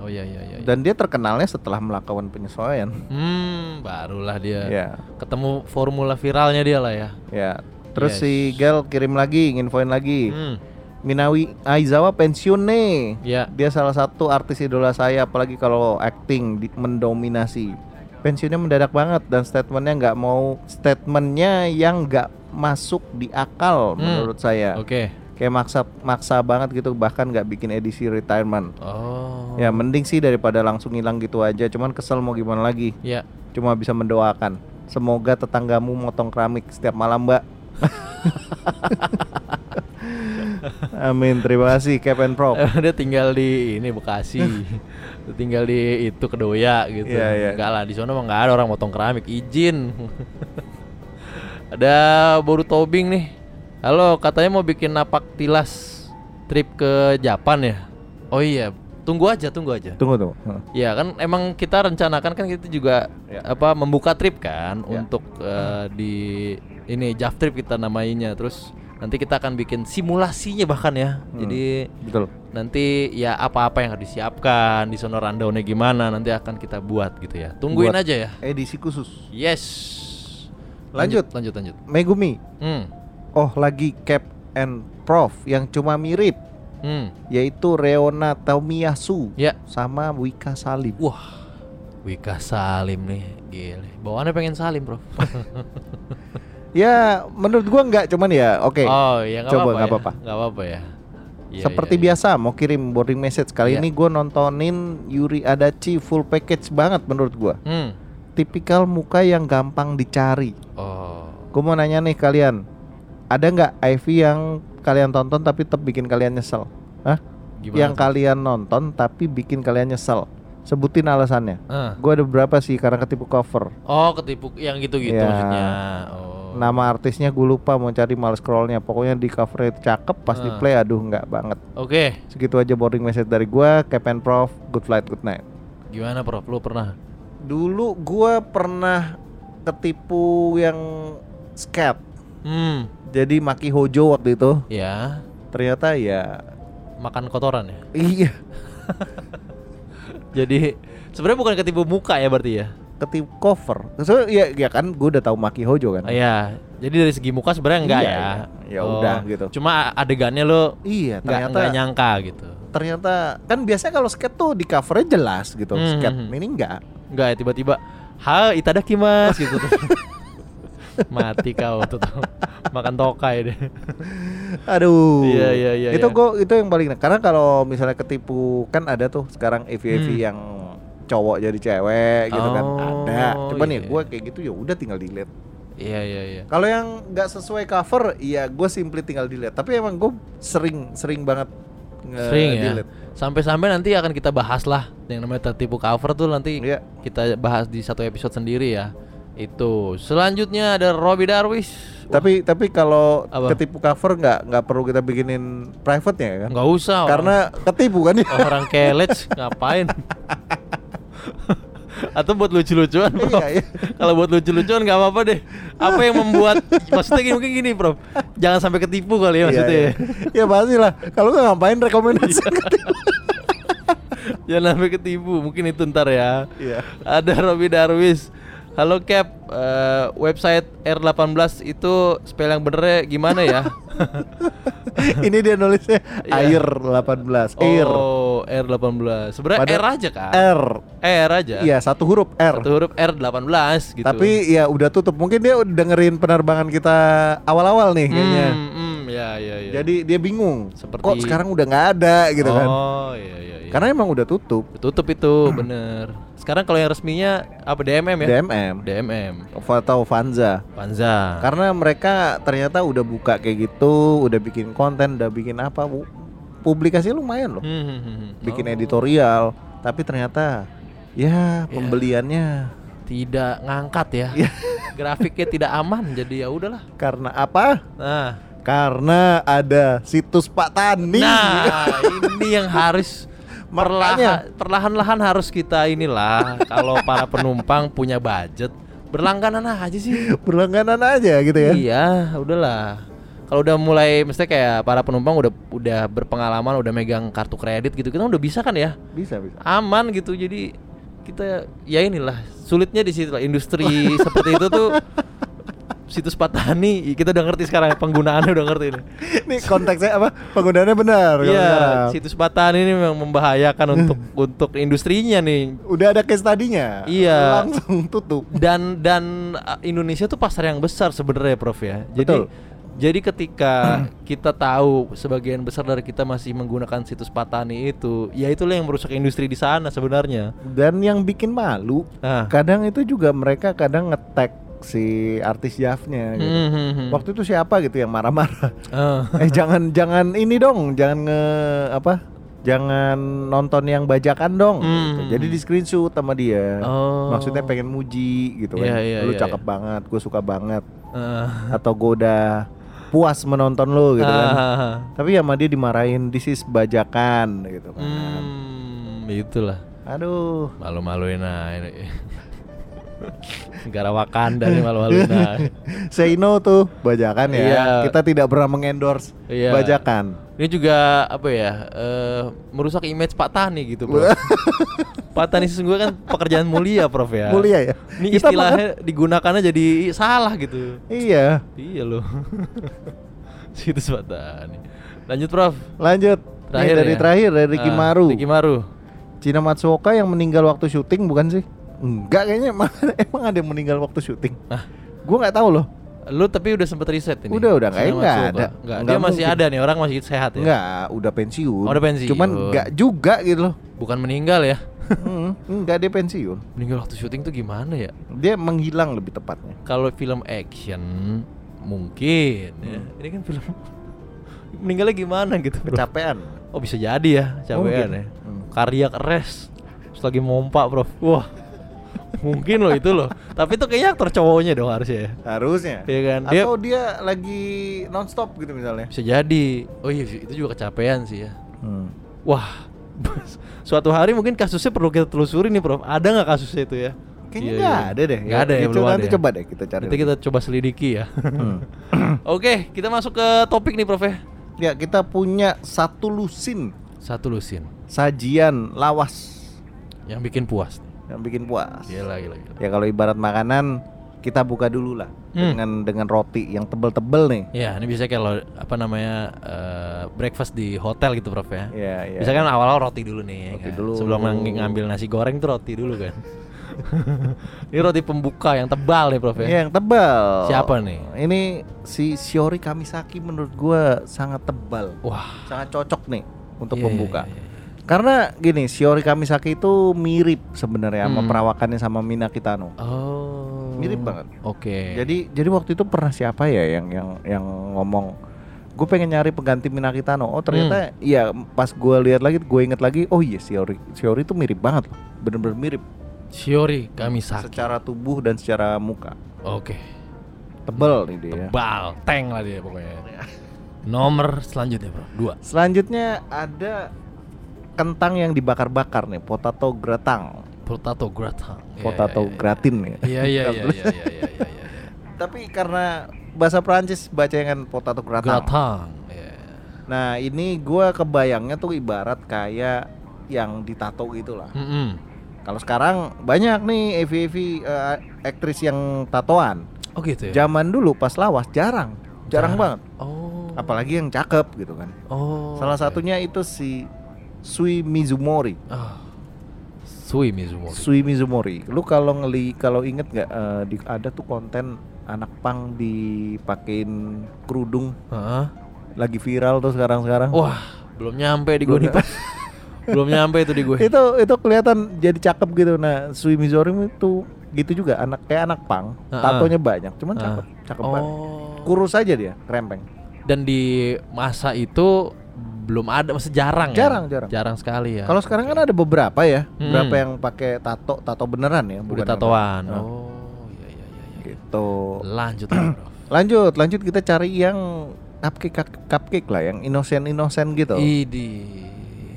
Speaker 4: Oh iya iya iya. iya.
Speaker 3: Dan dia terkenalnya setelah melakukan penyesuaian.
Speaker 4: Hmm, barulah dia
Speaker 3: Ya,
Speaker 4: ketemu formula viralnya dia lah ya.
Speaker 3: ya. Terus
Speaker 4: Yes.
Speaker 3: si Gal kirim lagi, nginfoin lagi.
Speaker 4: Iya, Hmm.
Speaker 3: Minawi Aizawa pensiun nih.
Speaker 4: Ya.
Speaker 3: Dia salah satu artis idola saya, apalagi kalau acting di- mendominasi. Pensiunnya mendadak banget dan statementnya nggak mau statementnya yang nggak masuk di akal
Speaker 4: Hmm.
Speaker 3: menurut saya.
Speaker 4: Oke.
Speaker 3: Kayak maksa maksa banget gitu, bahkan nggak bikin edisi retirement.
Speaker 4: Oh.
Speaker 3: Ya mending sih daripada langsung hilang gitu aja. Cuman kesel mau gimana lagi.
Speaker 4: Ya.
Speaker 3: Cuma bisa mendoakan. Semoga tetanggamu motong keramik setiap malam, Mbak. Amin. Terima kasih Cap and Prop.
Speaker 4: dia tinggal di ini Bekasi. Dia tinggal di itu Kedoya gitu.
Speaker 3: Iya, iya.
Speaker 4: Enggak lah di sana mah enggak ada orang motong keramik, izin. ada Boru Tobing nih. Halo, katanya mau bikin napak tilas trip ke Japan ya? Oh iya, tunggu aja, tunggu aja.
Speaker 3: Tunggu tunggu. Heeh.
Speaker 4: Ya kan emang kita rencanakan kan kita juga
Speaker 3: Ya.
Speaker 4: apa membuka trip kan
Speaker 3: Ya.
Speaker 4: untuk eh, di ini Jav trip kita namainya terus nanti kita akan bikin simulasinya bahkan ya.
Speaker 3: Hmm.
Speaker 4: Jadi
Speaker 3: Betul.
Speaker 4: nanti ya apa-apa yang harus disiapkan di sono rundownnya gimana nanti akan kita buat gitu ya. Tungguin
Speaker 3: Buat
Speaker 4: aja ya.
Speaker 3: Edisi khusus.
Speaker 4: Yes.
Speaker 3: Lanjut.
Speaker 4: lanjut, lanjut.
Speaker 3: Megumi.
Speaker 4: Hmm.
Speaker 3: Oh lagi Cap and Prof yang cuma mirip
Speaker 4: Hmm.
Speaker 3: yaitu Reona Taumiyasu
Speaker 4: Ya.
Speaker 3: sama Wika Salim.
Speaker 4: Wah. Wika Salim nih, gile. Bawaannya pengen Salim, Bro.
Speaker 3: Ya menurut gua nggak cuman ya oke.
Speaker 4: Oh, ya nggak
Speaker 3: Coba,
Speaker 4: apa-apa.
Speaker 3: nggak
Speaker 4: ya.
Speaker 3: apa-apa.
Speaker 4: Nggak apa-apa ya. Iya,
Speaker 3: Seperti
Speaker 4: iya, iya.
Speaker 3: biasa mau kirim boarding message kali
Speaker 4: Iya.
Speaker 3: ini gua nontonin Yuri Adachi full package banget menurut gua.
Speaker 4: Hmm.
Speaker 3: Tipikal muka yang gampang dicari.
Speaker 4: Oh.
Speaker 3: Gua mau nanya nih kalian, ada nggak IV yang kalian tonton tapi tetap bikin kalian nyesel? Hah?
Speaker 4: Gimana?
Speaker 3: yang
Speaker 4: tuh?
Speaker 3: kalian nonton tapi bikin kalian nyesel? Sebutin alasannya.
Speaker 4: Ah.
Speaker 3: Gua ada beberapa sih karena ketipu cover.
Speaker 4: Oh, ketipuk yang gitu-gitu
Speaker 3: Iya.
Speaker 4: maksudnya. Oh.
Speaker 3: Nama artisnya gue lupa mau cari males scrollnya. Pokoknya di covernya cakep pas di
Speaker 4: Ah.
Speaker 3: play aduh nggak banget.
Speaker 4: Oke,
Speaker 3: Segitu aja boarding message dari gua, Captain Prof, good flight, good night.
Speaker 4: gimana Prof? Lu pernah?
Speaker 3: Dulu gua pernah ketipu yang scat.
Speaker 4: Hmm,
Speaker 3: Jadi Maki Hojo waktu itu
Speaker 4: ya.
Speaker 3: ternyata ya
Speaker 4: Makan kotoran ya.
Speaker 3: iya
Speaker 4: Jadi sebenarnya bukan ketipu muka ya berarti ya.
Speaker 3: ketipu cover. So, ya, ya kan gua udah tahu Maki Hojo kan.
Speaker 4: Ah, Iya. Jadi dari segi muka sebenarnya enggak
Speaker 3: Iya,
Speaker 4: ya.
Speaker 3: iya. Ya udah, gitu.
Speaker 4: Cuma adegannya lu enggak
Speaker 3: Iya, ternyata
Speaker 4: enggak nyangka gitu.
Speaker 3: ternyata kan biasanya kalau skate tuh di covernya jelas gitu.
Speaker 4: Hmm,
Speaker 3: Skate
Speaker 4: hmm, hmm.
Speaker 3: ini enggak.
Speaker 4: Enggak ya tiba-tiba ha itadakimasu gitu tuh. Mati kau tuh, tuh. Makan tokai deh.
Speaker 3: Aduh.
Speaker 4: Iya, iya, iya,
Speaker 3: Itu
Speaker 4: iya.
Speaker 3: gua itu yang paling karena kalau misalnya ketipu kan ada tuh sekarang EV-EV
Speaker 4: Hmm.
Speaker 3: yang cowok jadi cewek gitu kan
Speaker 4: Oh,
Speaker 3: ada. Cuman ya
Speaker 4: iya.
Speaker 3: gua kayak gitu ya udah tinggal delete.
Speaker 4: Iya iya iya.
Speaker 3: Kalau yang nggak sesuai cover ya gue simply tinggal delete. Tapi emang gue sering sering banget nge-
Speaker 4: Sering ya.
Speaker 3: delete.
Speaker 4: Sampai-sampai nanti akan kita bahas lah yang namanya tertipu cover tuh nanti
Speaker 3: Iya.
Speaker 4: kita bahas di satu episode sendiri ya. Itu. Selanjutnya ada Robby Darwis. Wah,
Speaker 3: Tapi tapi kalau
Speaker 4: Apa?
Speaker 3: ketipu cover nggak nggak perlu kita bikinin private ya kan?
Speaker 4: nggak usah orang-
Speaker 3: Karena ketipu kan ya.
Speaker 4: orang, kelet ngapain? Atau buat lucu-lucuan, Bro.
Speaker 3: Iya, iya.
Speaker 4: Kalau buat lucu-lucuan nggak apa-apa deh. Apa yang membuat maksudnya gini mungkin gini, Prof. Jangan sampai ketipu kali ya maksudnya. Iya.
Speaker 3: Iya,
Speaker 4: ya.
Speaker 3: iya. ya pasti lah. Kalau nggak ngapain rekomendasi ketipu.
Speaker 4: Jangan sampai ketipu, mungkin itu ntar ya.
Speaker 3: Iya.
Speaker 4: Ada Robby Darwis. Halo Cap, Eh, website R18 itu spell yang benernya gimana ya?
Speaker 3: Ini dia nulisnya
Speaker 4: Iya.
Speaker 3: air 18 air.
Speaker 4: Oh, R18. Sebenarnya
Speaker 3: Padahal
Speaker 4: R aja kan?
Speaker 3: R.
Speaker 4: R aja.
Speaker 3: Iya, satu huruf R.
Speaker 4: Satu huruf R18 gitu.
Speaker 3: Tapi ya udah tutup. Mungkin dia udah dengerin penerbangan kita awal-awal nih kayaknya.
Speaker 4: Hmm, hmm, ya, ya, ya.
Speaker 3: Jadi dia bingung.
Speaker 4: Seperti-
Speaker 3: Kok sekarang udah nggak ada gitu kan?
Speaker 4: Oh, iya iya iya.
Speaker 3: Karena Hmm. emang udah tutup
Speaker 4: tutup itu, bener. Sekarang kalau yang resminya apa DMM ya?
Speaker 3: DMM
Speaker 4: DMM.
Speaker 3: atau Vanza.
Speaker 4: Panza.
Speaker 3: Karena mereka ternyata udah buka kayak gitu, udah bikin konten, udah bikin apa, bu- publikasi lumayan loh.
Speaker 4: Hmm, hmm, hmm, hmm.
Speaker 3: bikin
Speaker 4: Oh. Iya.
Speaker 3: editorial tapi ternyata ya pembeliannya
Speaker 4: Oh, tidak ngangkat ya.
Speaker 3: Iya.
Speaker 4: Grafiknya tidak aman jadi ya udahlah.
Speaker 3: karena apa?
Speaker 4: Nah,
Speaker 3: Karena ada situs Pak Tani.
Speaker 4: nah ini yang harus
Speaker 3: Makanya.
Speaker 4: perlahan perlahan-lahan harus kita inilah kalau para penumpang punya budget berlangganan aja sih.
Speaker 3: Berlangganan aja gitu ya.
Speaker 4: Iya, udahlah. Kalau udah mulai mesti kayak para penumpang udah udah berpengalaman, udah megang kartu kredit gitu, kita udah bisa kan ya?
Speaker 3: Bisa bisa.
Speaker 4: aman gitu jadi kita ya inilah sulitnya di situ lah industri seperti itu tuh situs Patani kita udah ngerti sekarang penggunaannya udah ngerti nih
Speaker 3: Ini konteksnya apa? Penggunaannya benar. kalau
Speaker 4: Iya,
Speaker 3: sekarang.
Speaker 4: situs Patani ini memang membahayakan untuk untuk industrinya nih
Speaker 3: Udah ada case tadinya.
Speaker 4: Iya.
Speaker 3: Langsung tutup.
Speaker 4: dan dan uh, Indonesia tuh pasar yang besar sebenarnya Prof ya. Jadi
Speaker 3: Betul.
Speaker 4: jadi ketika kita tahu sebagian besar dari kita masih menggunakan situs Patani itu, ya itulah yang merusak industri di sana sebenarnya.
Speaker 3: Dan yang bikin malu,
Speaker 4: Nah.
Speaker 3: kadang itu juga mereka kadang ngetek si artis Javnya gitu.
Speaker 4: Hmm, hmm, hmm.
Speaker 3: Waktu itu siapa gitu yang marah-marah?
Speaker 4: Eh.
Speaker 3: eh jangan jangan ini dong jangan nge apa jangan nonton yang bajakan dong gitu.
Speaker 4: Hmm.
Speaker 3: jadi di screenshot sama dia
Speaker 4: Oh.
Speaker 3: maksudnya pengen muji gitu kan
Speaker 4: Iya, iya,
Speaker 3: lu
Speaker 4: iya,
Speaker 3: cakep banget gue suka banget
Speaker 4: Eh.
Speaker 3: atau gue udah puas menonton lo gitu kan.
Speaker 4: Ah, ah, ah.
Speaker 3: Tapi ya sama dia dimarahin this is bajakan gitu kan.
Speaker 4: Hmm, itulah.
Speaker 3: Aduh.
Speaker 4: Malu-maluin nah ini. Negara Wakanda nih malu-maluin nah.
Speaker 3: Say no tuh bajakan ya.
Speaker 4: Iya.
Speaker 3: Kita tidak pernah mengendorse
Speaker 4: Iya.
Speaker 3: bajakan.
Speaker 4: Ini juga apa ya? eh, merusak image Pak Tani gitu, Bro. Pak Tani sesungguhnya kan pekerjaan mulia, Prof ya.
Speaker 3: Mulia ya.
Speaker 4: Ini
Speaker 3: Kita makan-
Speaker 4: istilahnya digunakannya jadi salah gitu.
Speaker 3: Iya.
Speaker 4: Iya loh. Situs Pak Tani. Lanjut, Prof.
Speaker 3: Lanjut. Nih,
Speaker 4: Terakhir
Speaker 3: dari
Speaker 4: ya?
Speaker 3: terakhir dari Ricky
Speaker 4: Ah,
Speaker 3: Maru.
Speaker 4: Ricky Maru.
Speaker 3: Cina Matsuoka yang meninggal waktu syuting bukan sih? Enggak kayaknya emang, emang ada yang meninggal waktu syuting.
Speaker 4: Ah.
Speaker 3: Gua nggak tahu loh.
Speaker 4: Lu tapi udah sempet riset ini.
Speaker 3: Udah, udah,
Speaker 4: Sinema
Speaker 3: kayaknya nggak
Speaker 4: Suka.
Speaker 3: ada.
Speaker 4: Nggak,
Speaker 3: Nggak
Speaker 4: dia masih
Speaker 3: mungkin.
Speaker 4: ada nih orang masih sehat ya.
Speaker 3: Enggak, udah pensiun.
Speaker 4: Oh, udah pensiun.
Speaker 3: Cuman enggak juga gitu loh.
Speaker 4: Bukan meninggal ya.
Speaker 3: Hmm, enggak dia pensiun.
Speaker 4: Meninggal waktu syuting tuh gimana ya?
Speaker 3: Dia menghilang lebih tepatnya.
Speaker 4: Kalau film action mungkin ya.
Speaker 3: Hmm.
Speaker 4: Ini kan film meninggalnya gimana gitu. bro?
Speaker 3: Kecapean.
Speaker 4: Oh bisa jadi ya, capean
Speaker 3: Mungkin.
Speaker 4: ya.
Speaker 3: Hmm.
Speaker 4: Cardiac arrest. Terus lagi mompa, Prof. Wah. mungkin loh itu loh. Tapi itu kayaknya aktor cowoknya dong harusnya ya.
Speaker 3: Harusnya.
Speaker 4: Iya kan? Dia-
Speaker 3: Atau dia lagi nonstop gitu misalnya.
Speaker 4: Bisa jadi. Oh iya itu juga kecapean sih ya.
Speaker 3: Hmm.
Speaker 4: Wah, suatu hari mungkin kasusnya perlu kita telusuri nih, Prof. Ada nggak kasusnya itu ya?
Speaker 3: Kayaknya
Speaker 4: Iya,
Speaker 3: nggak
Speaker 4: iya.
Speaker 3: ada deh.
Speaker 4: Nggak ada ya,
Speaker 3: Itu
Speaker 4: belum ada
Speaker 3: nanti
Speaker 4: ya?
Speaker 3: coba deh kita cari.
Speaker 4: Nanti kita coba selidiki ya.
Speaker 3: Hmm.
Speaker 4: Oke, kita masuk ke topik nih, Prof. ya.
Speaker 3: Ya kita punya satu lusin
Speaker 4: Satu lusin
Speaker 3: sajian lawas
Speaker 4: yang bikin puas. nih.
Speaker 3: yang bikin puas.
Speaker 4: Gila, gila, gila.
Speaker 3: Ya kalau ibarat makanan kita buka dulu lah
Speaker 4: Hmm.
Speaker 3: dengan dengan roti yang tebel-tebel nih.
Speaker 4: Ya, ini biasanya kalau apa namanya eh, breakfast di hotel gitu, Prof ya.
Speaker 3: Iya, iya.
Speaker 4: Bisa kan awal-awal roti dulu nih. ya
Speaker 3: Roti
Speaker 4: kan?
Speaker 3: dulu.
Speaker 4: Sebelum ng- ngambil nasi goreng tuh roti dulu kan. ini roti pembuka yang tebal nih, Prof ya.
Speaker 3: Iya, yang tebal.
Speaker 4: Siapa nih?
Speaker 3: Ini si Shiori Kamisaki menurut gua sangat tebal.
Speaker 4: Wah.
Speaker 3: Sangat cocok nih untuk
Speaker 4: Iya,
Speaker 3: pembuka.
Speaker 4: iya, iya,
Speaker 3: Karena gini, Shiori Kamisaki itu mirip sebenarnya
Speaker 4: Hmm.
Speaker 3: sama perawakannya sama Mina Kitano.
Speaker 4: Oh.
Speaker 3: Mirip banget.
Speaker 4: Oke.
Speaker 3: Jadi jadi waktu itu pernah siapa ya yang yang yang ngomong gue pengen nyari pengganti Minakitano. Oh
Speaker 4: Hmm.
Speaker 3: ternyata iya pas gue lihat lagi gue inget lagi oh iya Shiori Shiori itu mirip banget loh bener-bener mirip
Speaker 4: Shiori Kamisaki.
Speaker 3: secara tubuh dan secara muka
Speaker 4: Oke.
Speaker 3: tebel nih dia. ya.
Speaker 4: Tebal, tank lah dia
Speaker 3: Iya.
Speaker 4: pokoknya. Nomor selanjutnya, Bro. Dua.
Speaker 3: Selanjutnya ada kentang yang dibakar-bakar nih potato gratang
Speaker 4: Potato gratin. Iya,
Speaker 3: potato
Speaker 4: iya, iya.
Speaker 3: gratin nih.
Speaker 4: Iya iya iya iya iya iya iya. iya.
Speaker 3: Tapi karena bahasa Perancis bacanya kan potato gratang.
Speaker 4: Gratin. Iya.
Speaker 3: Nah ini gua kebayangnya tuh ibarat kayak yang ditato gitu lah.
Speaker 4: Mm-mm.
Speaker 3: Kalau sekarang banyak nih EV-EV eh, aktris yang tatoan.
Speaker 4: Oh gitu ya.
Speaker 3: Zaman dulu pas lawas jarang, jarang banget.
Speaker 4: Oh.
Speaker 3: Apalagi yang cakep gitu kan.
Speaker 4: Oh.
Speaker 3: Salah
Speaker 4: oke.
Speaker 3: satunya itu si Sui Mizumori.
Speaker 4: Ah. Sui Mizumori.
Speaker 3: Sui Mizumori. Lu kalau ngeli kalau inget nggak eh, di- ada tuh konten anak pang dipakein kerudung
Speaker 4: Heeh.
Speaker 3: lagi viral tuh sekarang-sekarang.
Speaker 4: Wah, belum nyampe di gue nih, Pak. belum nyampe itu di gue.
Speaker 3: itu itu kelihatan jadi cakep gitu nah Sui Mizorim itu gitu juga anak kayak anak pang
Speaker 4: Ah,
Speaker 3: tatonya banyak cuman
Speaker 4: Ah.
Speaker 3: cakep cakep banget
Speaker 4: Oh.
Speaker 3: kurus aja dia krempeng
Speaker 4: Dan di masa itu belum ada, masih jarang. ya?
Speaker 3: Jarang, jarang.
Speaker 4: Jarang sekali ya.
Speaker 3: kalau sekarang kan ada beberapa ya
Speaker 4: Hmm.
Speaker 3: beberapa yang pakai tato tato beneran ya
Speaker 4: udah
Speaker 3: bukan yang-
Speaker 4: tatoan.
Speaker 3: Ah,
Speaker 4: Oh, iya iya iya. iya.
Speaker 3: gitu
Speaker 4: Lanjut, Bro.
Speaker 3: lanjut lanjut kita cari yang cupcake cup- cupcake lah yang innocent innocent gitu
Speaker 4: Idi.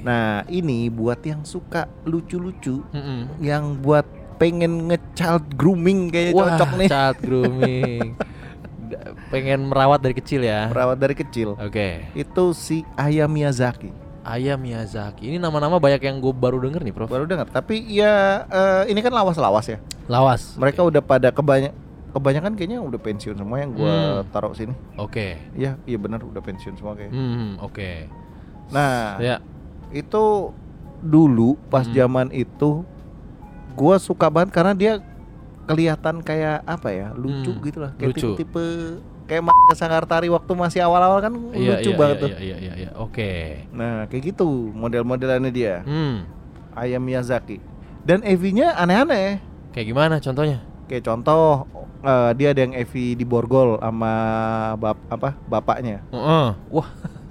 Speaker 3: nah ini buat yang suka lucu-lucu
Speaker 4: Mm-mm.
Speaker 3: yang buat pengen nge-child grooming kayaknya
Speaker 4: Wah,
Speaker 3: cocok nih
Speaker 4: cat grooming. Da- Pengen merawat dari kecil ya.
Speaker 3: perawat dari kecil
Speaker 4: Oke.
Speaker 3: itu si Aya Miyazaki
Speaker 4: Ayam Miyazaki. Ini nama-nama banyak yang gue baru denger nih, Prof.
Speaker 3: baru dengar tapi ya eh, ini kan lawas-lawas ya
Speaker 4: Lawas.
Speaker 3: mereka udah pada kebanyak kebanyakan kayaknya udah pensiun semua yang gua
Speaker 4: Hmm.
Speaker 3: taruh sini
Speaker 4: Oke.
Speaker 3: iya iya benar udah pensiun semua kayaknya
Speaker 4: Hmm, oke.
Speaker 3: nah
Speaker 4: Ya.
Speaker 3: itu dulu pas
Speaker 4: Hmm.
Speaker 3: zaman itu gua suka banget karena dia kelihatan kayak apa ya lucu
Speaker 4: Hmm,
Speaker 3: gitu lah kayak
Speaker 4: lucu.
Speaker 3: tipe-tipe kayak Mas Sangartari waktu masih awal-awal kan
Speaker 4: Iya, iya,
Speaker 3: lucu banget
Speaker 4: iya,
Speaker 3: tuh
Speaker 4: Iya, iya, iya, iya. Oke.
Speaker 3: nah kayak gitu model-modelannya dia
Speaker 4: Hmm.
Speaker 3: Aya Miyazaki dan EV-nya aneh-aneh
Speaker 4: Kayak gimana contohnya?
Speaker 3: Kayak contoh eh, dia ada yang Evi di borgol sama bap apa bapaknya.
Speaker 4: Heeh. Wah,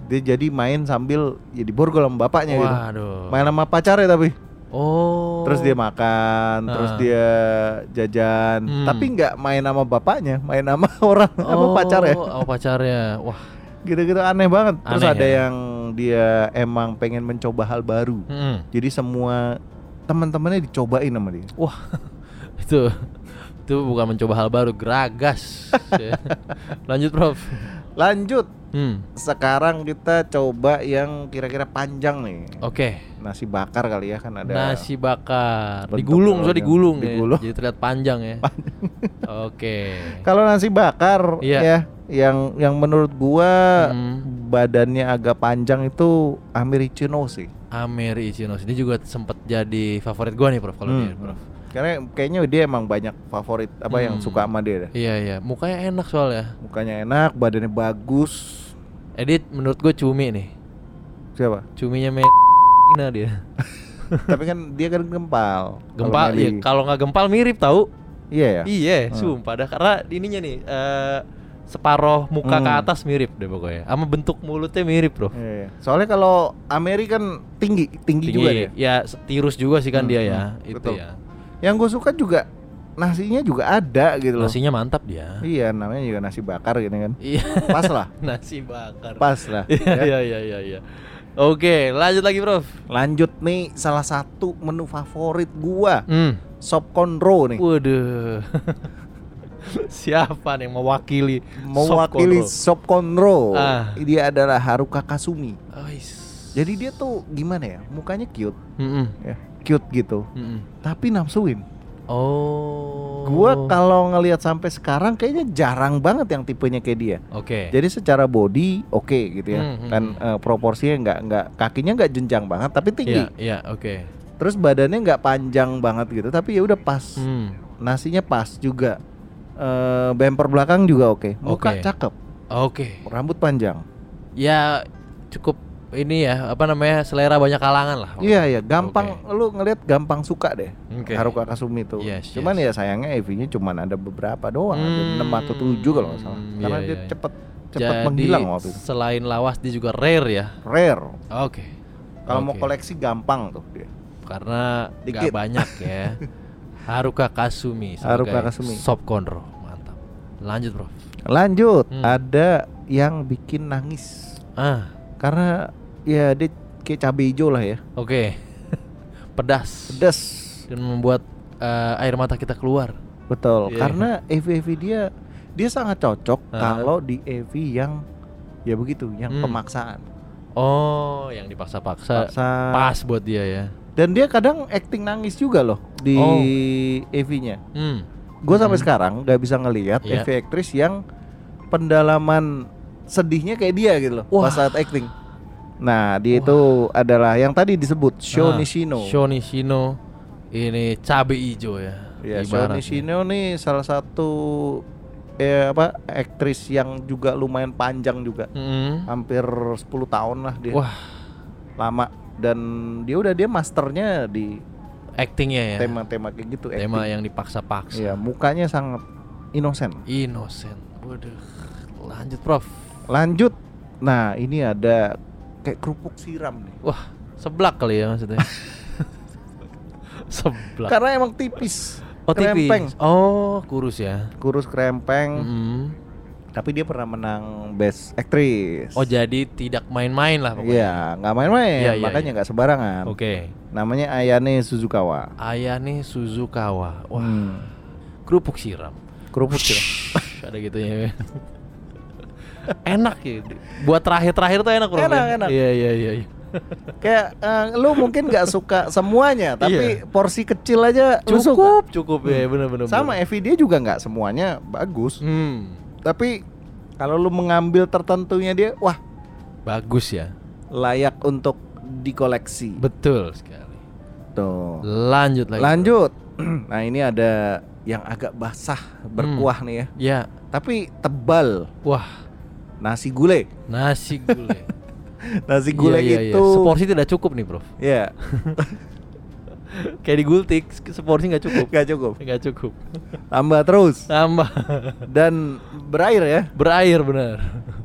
Speaker 3: Dia jadi main sambil ya di borgol sama bapaknya gitu.
Speaker 4: waduh.
Speaker 3: Main sama pacarnya tapi.
Speaker 4: Oh.
Speaker 3: Terus dia makan, terus
Speaker 4: Ah.
Speaker 3: dia jajan,
Speaker 4: Hmm.
Speaker 3: tapi nggak main sama bapaknya, main sama orang apa
Speaker 4: Oh,
Speaker 3: pacar ya.
Speaker 4: Oh, pacarnya. Wah.
Speaker 3: Gitu-gitu aneh banget. Terus
Speaker 4: Aneh ya.
Speaker 3: ada
Speaker 4: Hmm.
Speaker 3: yang dia emang pengen mencoba hal baru.
Speaker 4: Mm-mm.
Speaker 3: Jadi semua teman-temannya dicobain sama dia.
Speaker 4: Wah. itu itu bukan mencoba hal baru, geragas. Ya. Lanjut, Prof.
Speaker 3: Lanjut,
Speaker 4: Hmm.
Speaker 3: sekarang kita coba yang kira-kira panjang nih.
Speaker 4: Oke.
Speaker 3: Nasi bakar kali ya kan ada.
Speaker 4: Oh. Nasi bakar.
Speaker 3: bentuk
Speaker 4: Digulung, so
Speaker 3: telurnya.
Speaker 4: digulung, ya.
Speaker 3: Digulung.
Speaker 4: Jadi terlihat panjang ya. Oke.
Speaker 3: Kalau nasi bakar
Speaker 4: Iya.
Speaker 3: ya yang yang menurut gua
Speaker 4: Hmm.
Speaker 3: badannya agak panjang itu Americano sih.
Speaker 4: Amir Ichinos ini juga sempat jadi favorit gua nih, Prof, kalau
Speaker 3: Hmm.
Speaker 4: dia, Prof.
Speaker 3: Karena kayaknya dia emang banyak favorit apa yang
Speaker 4: Hmm.
Speaker 3: suka sama dia. dah.
Speaker 4: Iya, iya. Mukanya enak soalnya.
Speaker 3: Mukanya enak, badannya bagus.
Speaker 4: Edit menurut gue cumi nih.
Speaker 3: Siapa?
Speaker 4: Cuminya me nah dia.
Speaker 3: Tapi kan dia kan gempal. Kalau
Speaker 4: Gempal,
Speaker 3: Meli-
Speaker 4: iya, kalau nggak gempal mirip tahu.
Speaker 3: Iya ya.
Speaker 4: Iya,
Speaker 3: Hmm.
Speaker 4: sumpah dah karena ininya nih eh separoh muka ke
Speaker 3: Hmm.
Speaker 4: atas mirip deh pokoknya. Sama bentuk mulutnya mirip, Bro.
Speaker 3: Iya, iya. Soalnya kalau Ameri kan tinggi, tinggi, juga dia.
Speaker 4: Ya, se- tirus juga sih kan
Speaker 3: Hmm,
Speaker 4: dia ya.
Speaker 3: hmm,
Speaker 4: Itu
Speaker 3: betul.
Speaker 4: ya.
Speaker 3: Yang gue suka juga nasinya juga ada gitu loh.
Speaker 4: Nasinya mantap dia.
Speaker 3: Iya, namanya juga nasi bakar gitu kan.
Speaker 4: Iya,
Speaker 3: Pas lah,
Speaker 4: nasi bakar.
Speaker 3: pas lah. ya.
Speaker 4: Iya, iya, iya, iya. Oke, lanjut lagi, Prof.
Speaker 3: Lanjut nih salah satu menu favorit gua,
Speaker 4: Hmm.
Speaker 3: sop konro nih.
Speaker 4: Waduh. Siapa nih yang mewakili?
Speaker 3: Mewakili
Speaker 4: Sopkondro?
Speaker 3: sop konro.
Speaker 4: Ah.
Speaker 3: Dia adalah Haruka Kasumi.
Speaker 4: Ais.
Speaker 3: Jadi dia tuh gimana ya? Mukanya cute,
Speaker 4: Mm-mm,
Speaker 3: ya. Cute gitu.
Speaker 4: mm-mm.
Speaker 3: Tapi nafsuin.
Speaker 4: Oh.
Speaker 3: Gua kalau ngelihat sampai sekarang kayaknya jarang banget yang tipenya kayak dia.
Speaker 4: Oke.
Speaker 3: Jadi secara body oke gitu ya.
Speaker 4: Hmm, hmm,
Speaker 3: Dan eh, proporsinya nggak nggak kakinya nggak jenjang banget tapi tinggi.
Speaker 4: Iya, iya, oke.
Speaker 3: Terus badannya nggak panjang banget gitu tapi ya udah pas.
Speaker 4: Hmm.
Speaker 3: Nasinya pas juga. Eh bumper belakang juga oke. Muka
Speaker 4: Oke.
Speaker 3: cakep,
Speaker 4: Oke.
Speaker 3: rambut panjang.
Speaker 4: Ya cukup ini ya, apa namanya? selera banyak kalangan lah.
Speaker 3: Iya iya, gampang lu ngelihat gampang suka deh.
Speaker 4: Oke.
Speaker 3: Haruka Kasumi itu.
Speaker 4: Yes,
Speaker 3: cuman ya sayangnya EV-nya cuman ada beberapa doang,
Speaker 4: Hmm,
Speaker 3: ada 6 atau 7 kalau nggak salah.
Speaker 4: iya,
Speaker 3: Karena dia
Speaker 4: iya, iya.
Speaker 3: cepet cepet
Speaker 4: Jadi,
Speaker 3: menghilang waktu itu.
Speaker 4: Selain lawas dia juga rare ya.
Speaker 3: Rare.
Speaker 4: Oke.
Speaker 3: Kalau mau
Speaker 4: Oke.
Speaker 3: koleksi gampang tuh dia.
Speaker 4: Karena nggak
Speaker 3: Dikit.
Speaker 4: banyak ya. Haruka Kasumi
Speaker 3: Haruka
Speaker 4: sebagai
Speaker 3: Kasumi.
Speaker 4: Sop Konro. Mantap. Lanjut, Bro.
Speaker 3: Lanjut,
Speaker 4: Hmm.
Speaker 3: ada yang bikin nangis
Speaker 4: Ah,
Speaker 3: karena ya dia kayak cabai hijau lah ya,
Speaker 4: oke. Pedas.
Speaker 3: pedas.
Speaker 4: dan membuat eh, air mata kita keluar.
Speaker 3: Betul,
Speaker 4: Iya.
Speaker 3: karena EV-EV dia dia sangat cocok
Speaker 4: Ah.
Speaker 3: kalau di EV yang ya begitu, yang
Speaker 4: Hmm.
Speaker 3: pemaksaan.
Speaker 4: Oh, yang dipaksa-paksa
Speaker 3: Paksa.
Speaker 4: pas buat dia ya.
Speaker 3: Dan dia kadang acting nangis juga loh di
Speaker 4: Oh.
Speaker 3: EV-nya.
Speaker 4: Hmm.
Speaker 3: Gue sampai
Speaker 4: Mhm.
Speaker 3: sekarang nggak bisa ngelihat
Speaker 4: Iya.
Speaker 3: EV aktris yang pendalaman sedihnya kayak dia gitu loh
Speaker 4: Wah.
Speaker 3: pas saat acting. Nah, dia itu adalah yang tadi disebut
Speaker 4: Ah,
Speaker 3: Shonishino.
Speaker 4: Shonishino ini cabe ijo ya.
Speaker 3: Ya,
Speaker 4: ibaratnya.
Speaker 3: Shonishino nih salah satu eh apa aktris yang juga lumayan panjang juga.
Speaker 4: Mm-mm.
Speaker 3: Hampir 10 tahun lah dia.
Speaker 4: Wah.
Speaker 3: Lama dan dia udah dia masternya di
Speaker 4: Actingnya ya. Tema,
Speaker 3: tema-tema kayak gitu acting.
Speaker 4: yang dipaksa-paksa.
Speaker 3: Iya, mukanya sangat innocent.
Speaker 4: Innocent. Waduh. Lanjut, Prof.
Speaker 3: Lanjut. Nah, ini ada kayak kerupuk siram nih.
Speaker 4: Wah, seblak kali ya maksudnya. seblak.
Speaker 3: Karena emang tipis.
Speaker 4: Oh, tipis.
Speaker 3: Krempeng.
Speaker 4: Oh, kurus ya.
Speaker 3: Kurus krempeng,
Speaker 4: Mm-mm.
Speaker 3: tapi dia pernah menang best actress.
Speaker 4: Oh, jadi tidak main-main lah pokoknya.
Speaker 3: Iya, nggak main-main,
Speaker 4: Iya, iya,
Speaker 3: makanya
Speaker 4: iya.
Speaker 3: nggak sembarangan.
Speaker 4: Oke.
Speaker 3: Namanya Ayane Suzukawa.
Speaker 4: Ayane Suzukawa. Wah,
Speaker 3: Hmm,
Speaker 4: kerupuk siram.
Speaker 3: kerupuk siram.
Speaker 4: Ada gitunya. ya. enak ya. Buat terakhir-terakhir tuh enak Prof,
Speaker 3: Enak,
Speaker 4: ya?
Speaker 3: enak.
Speaker 4: Iya, iya, iya. iya.
Speaker 3: Kayak eh, lu mungkin nggak suka semuanya, tapi porsi kecil aja
Speaker 4: Iya.
Speaker 3: lu suka. Hmm.
Speaker 4: Cukup, cukup ya, benar-benar.
Speaker 3: Sama Evi dia juga nggak semuanya bagus,
Speaker 4: Hmm.
Speaker 3: tapi kalau lu mengambil tertentunya dia, wah
Speaker 4: Bagus ya.
Speaker 3: layak untuk dikoleksi.
Speaker 4: Betul sekali.
Speaker 3: Tuh.
Speaker 4: Lanjut lagi. Bro.
Speaker 3: Lanjut. Nah, ini ada yang agak basah berkuah nih ya.
Speaker 4: Ya.
Speaker 3: Tapi tebal.
Speaker 4: Wah,
Speaker 3: Nasi gulai.
Speaker 4: nasi gulai.
Speaker 3: Nasi
Speaker 4: Iya,
Speaker 3: gulai gitu.
Speaker 4: iya, iya.
Speaker 3: itu
Speaker 4: Seporsi tidak cukup nih, Prof.
Speaker 3: ya
Speaker 4: Kayak di gultik, seporsi nggak cukup.
Speaker 3: nggak cukup.
Speaker 4: Nggak cukup.
Speaker 3: Tambah terus
Speaker 4: Tambah.
Speaker 3: dan berair ya.
Speaker 4: Berair benar.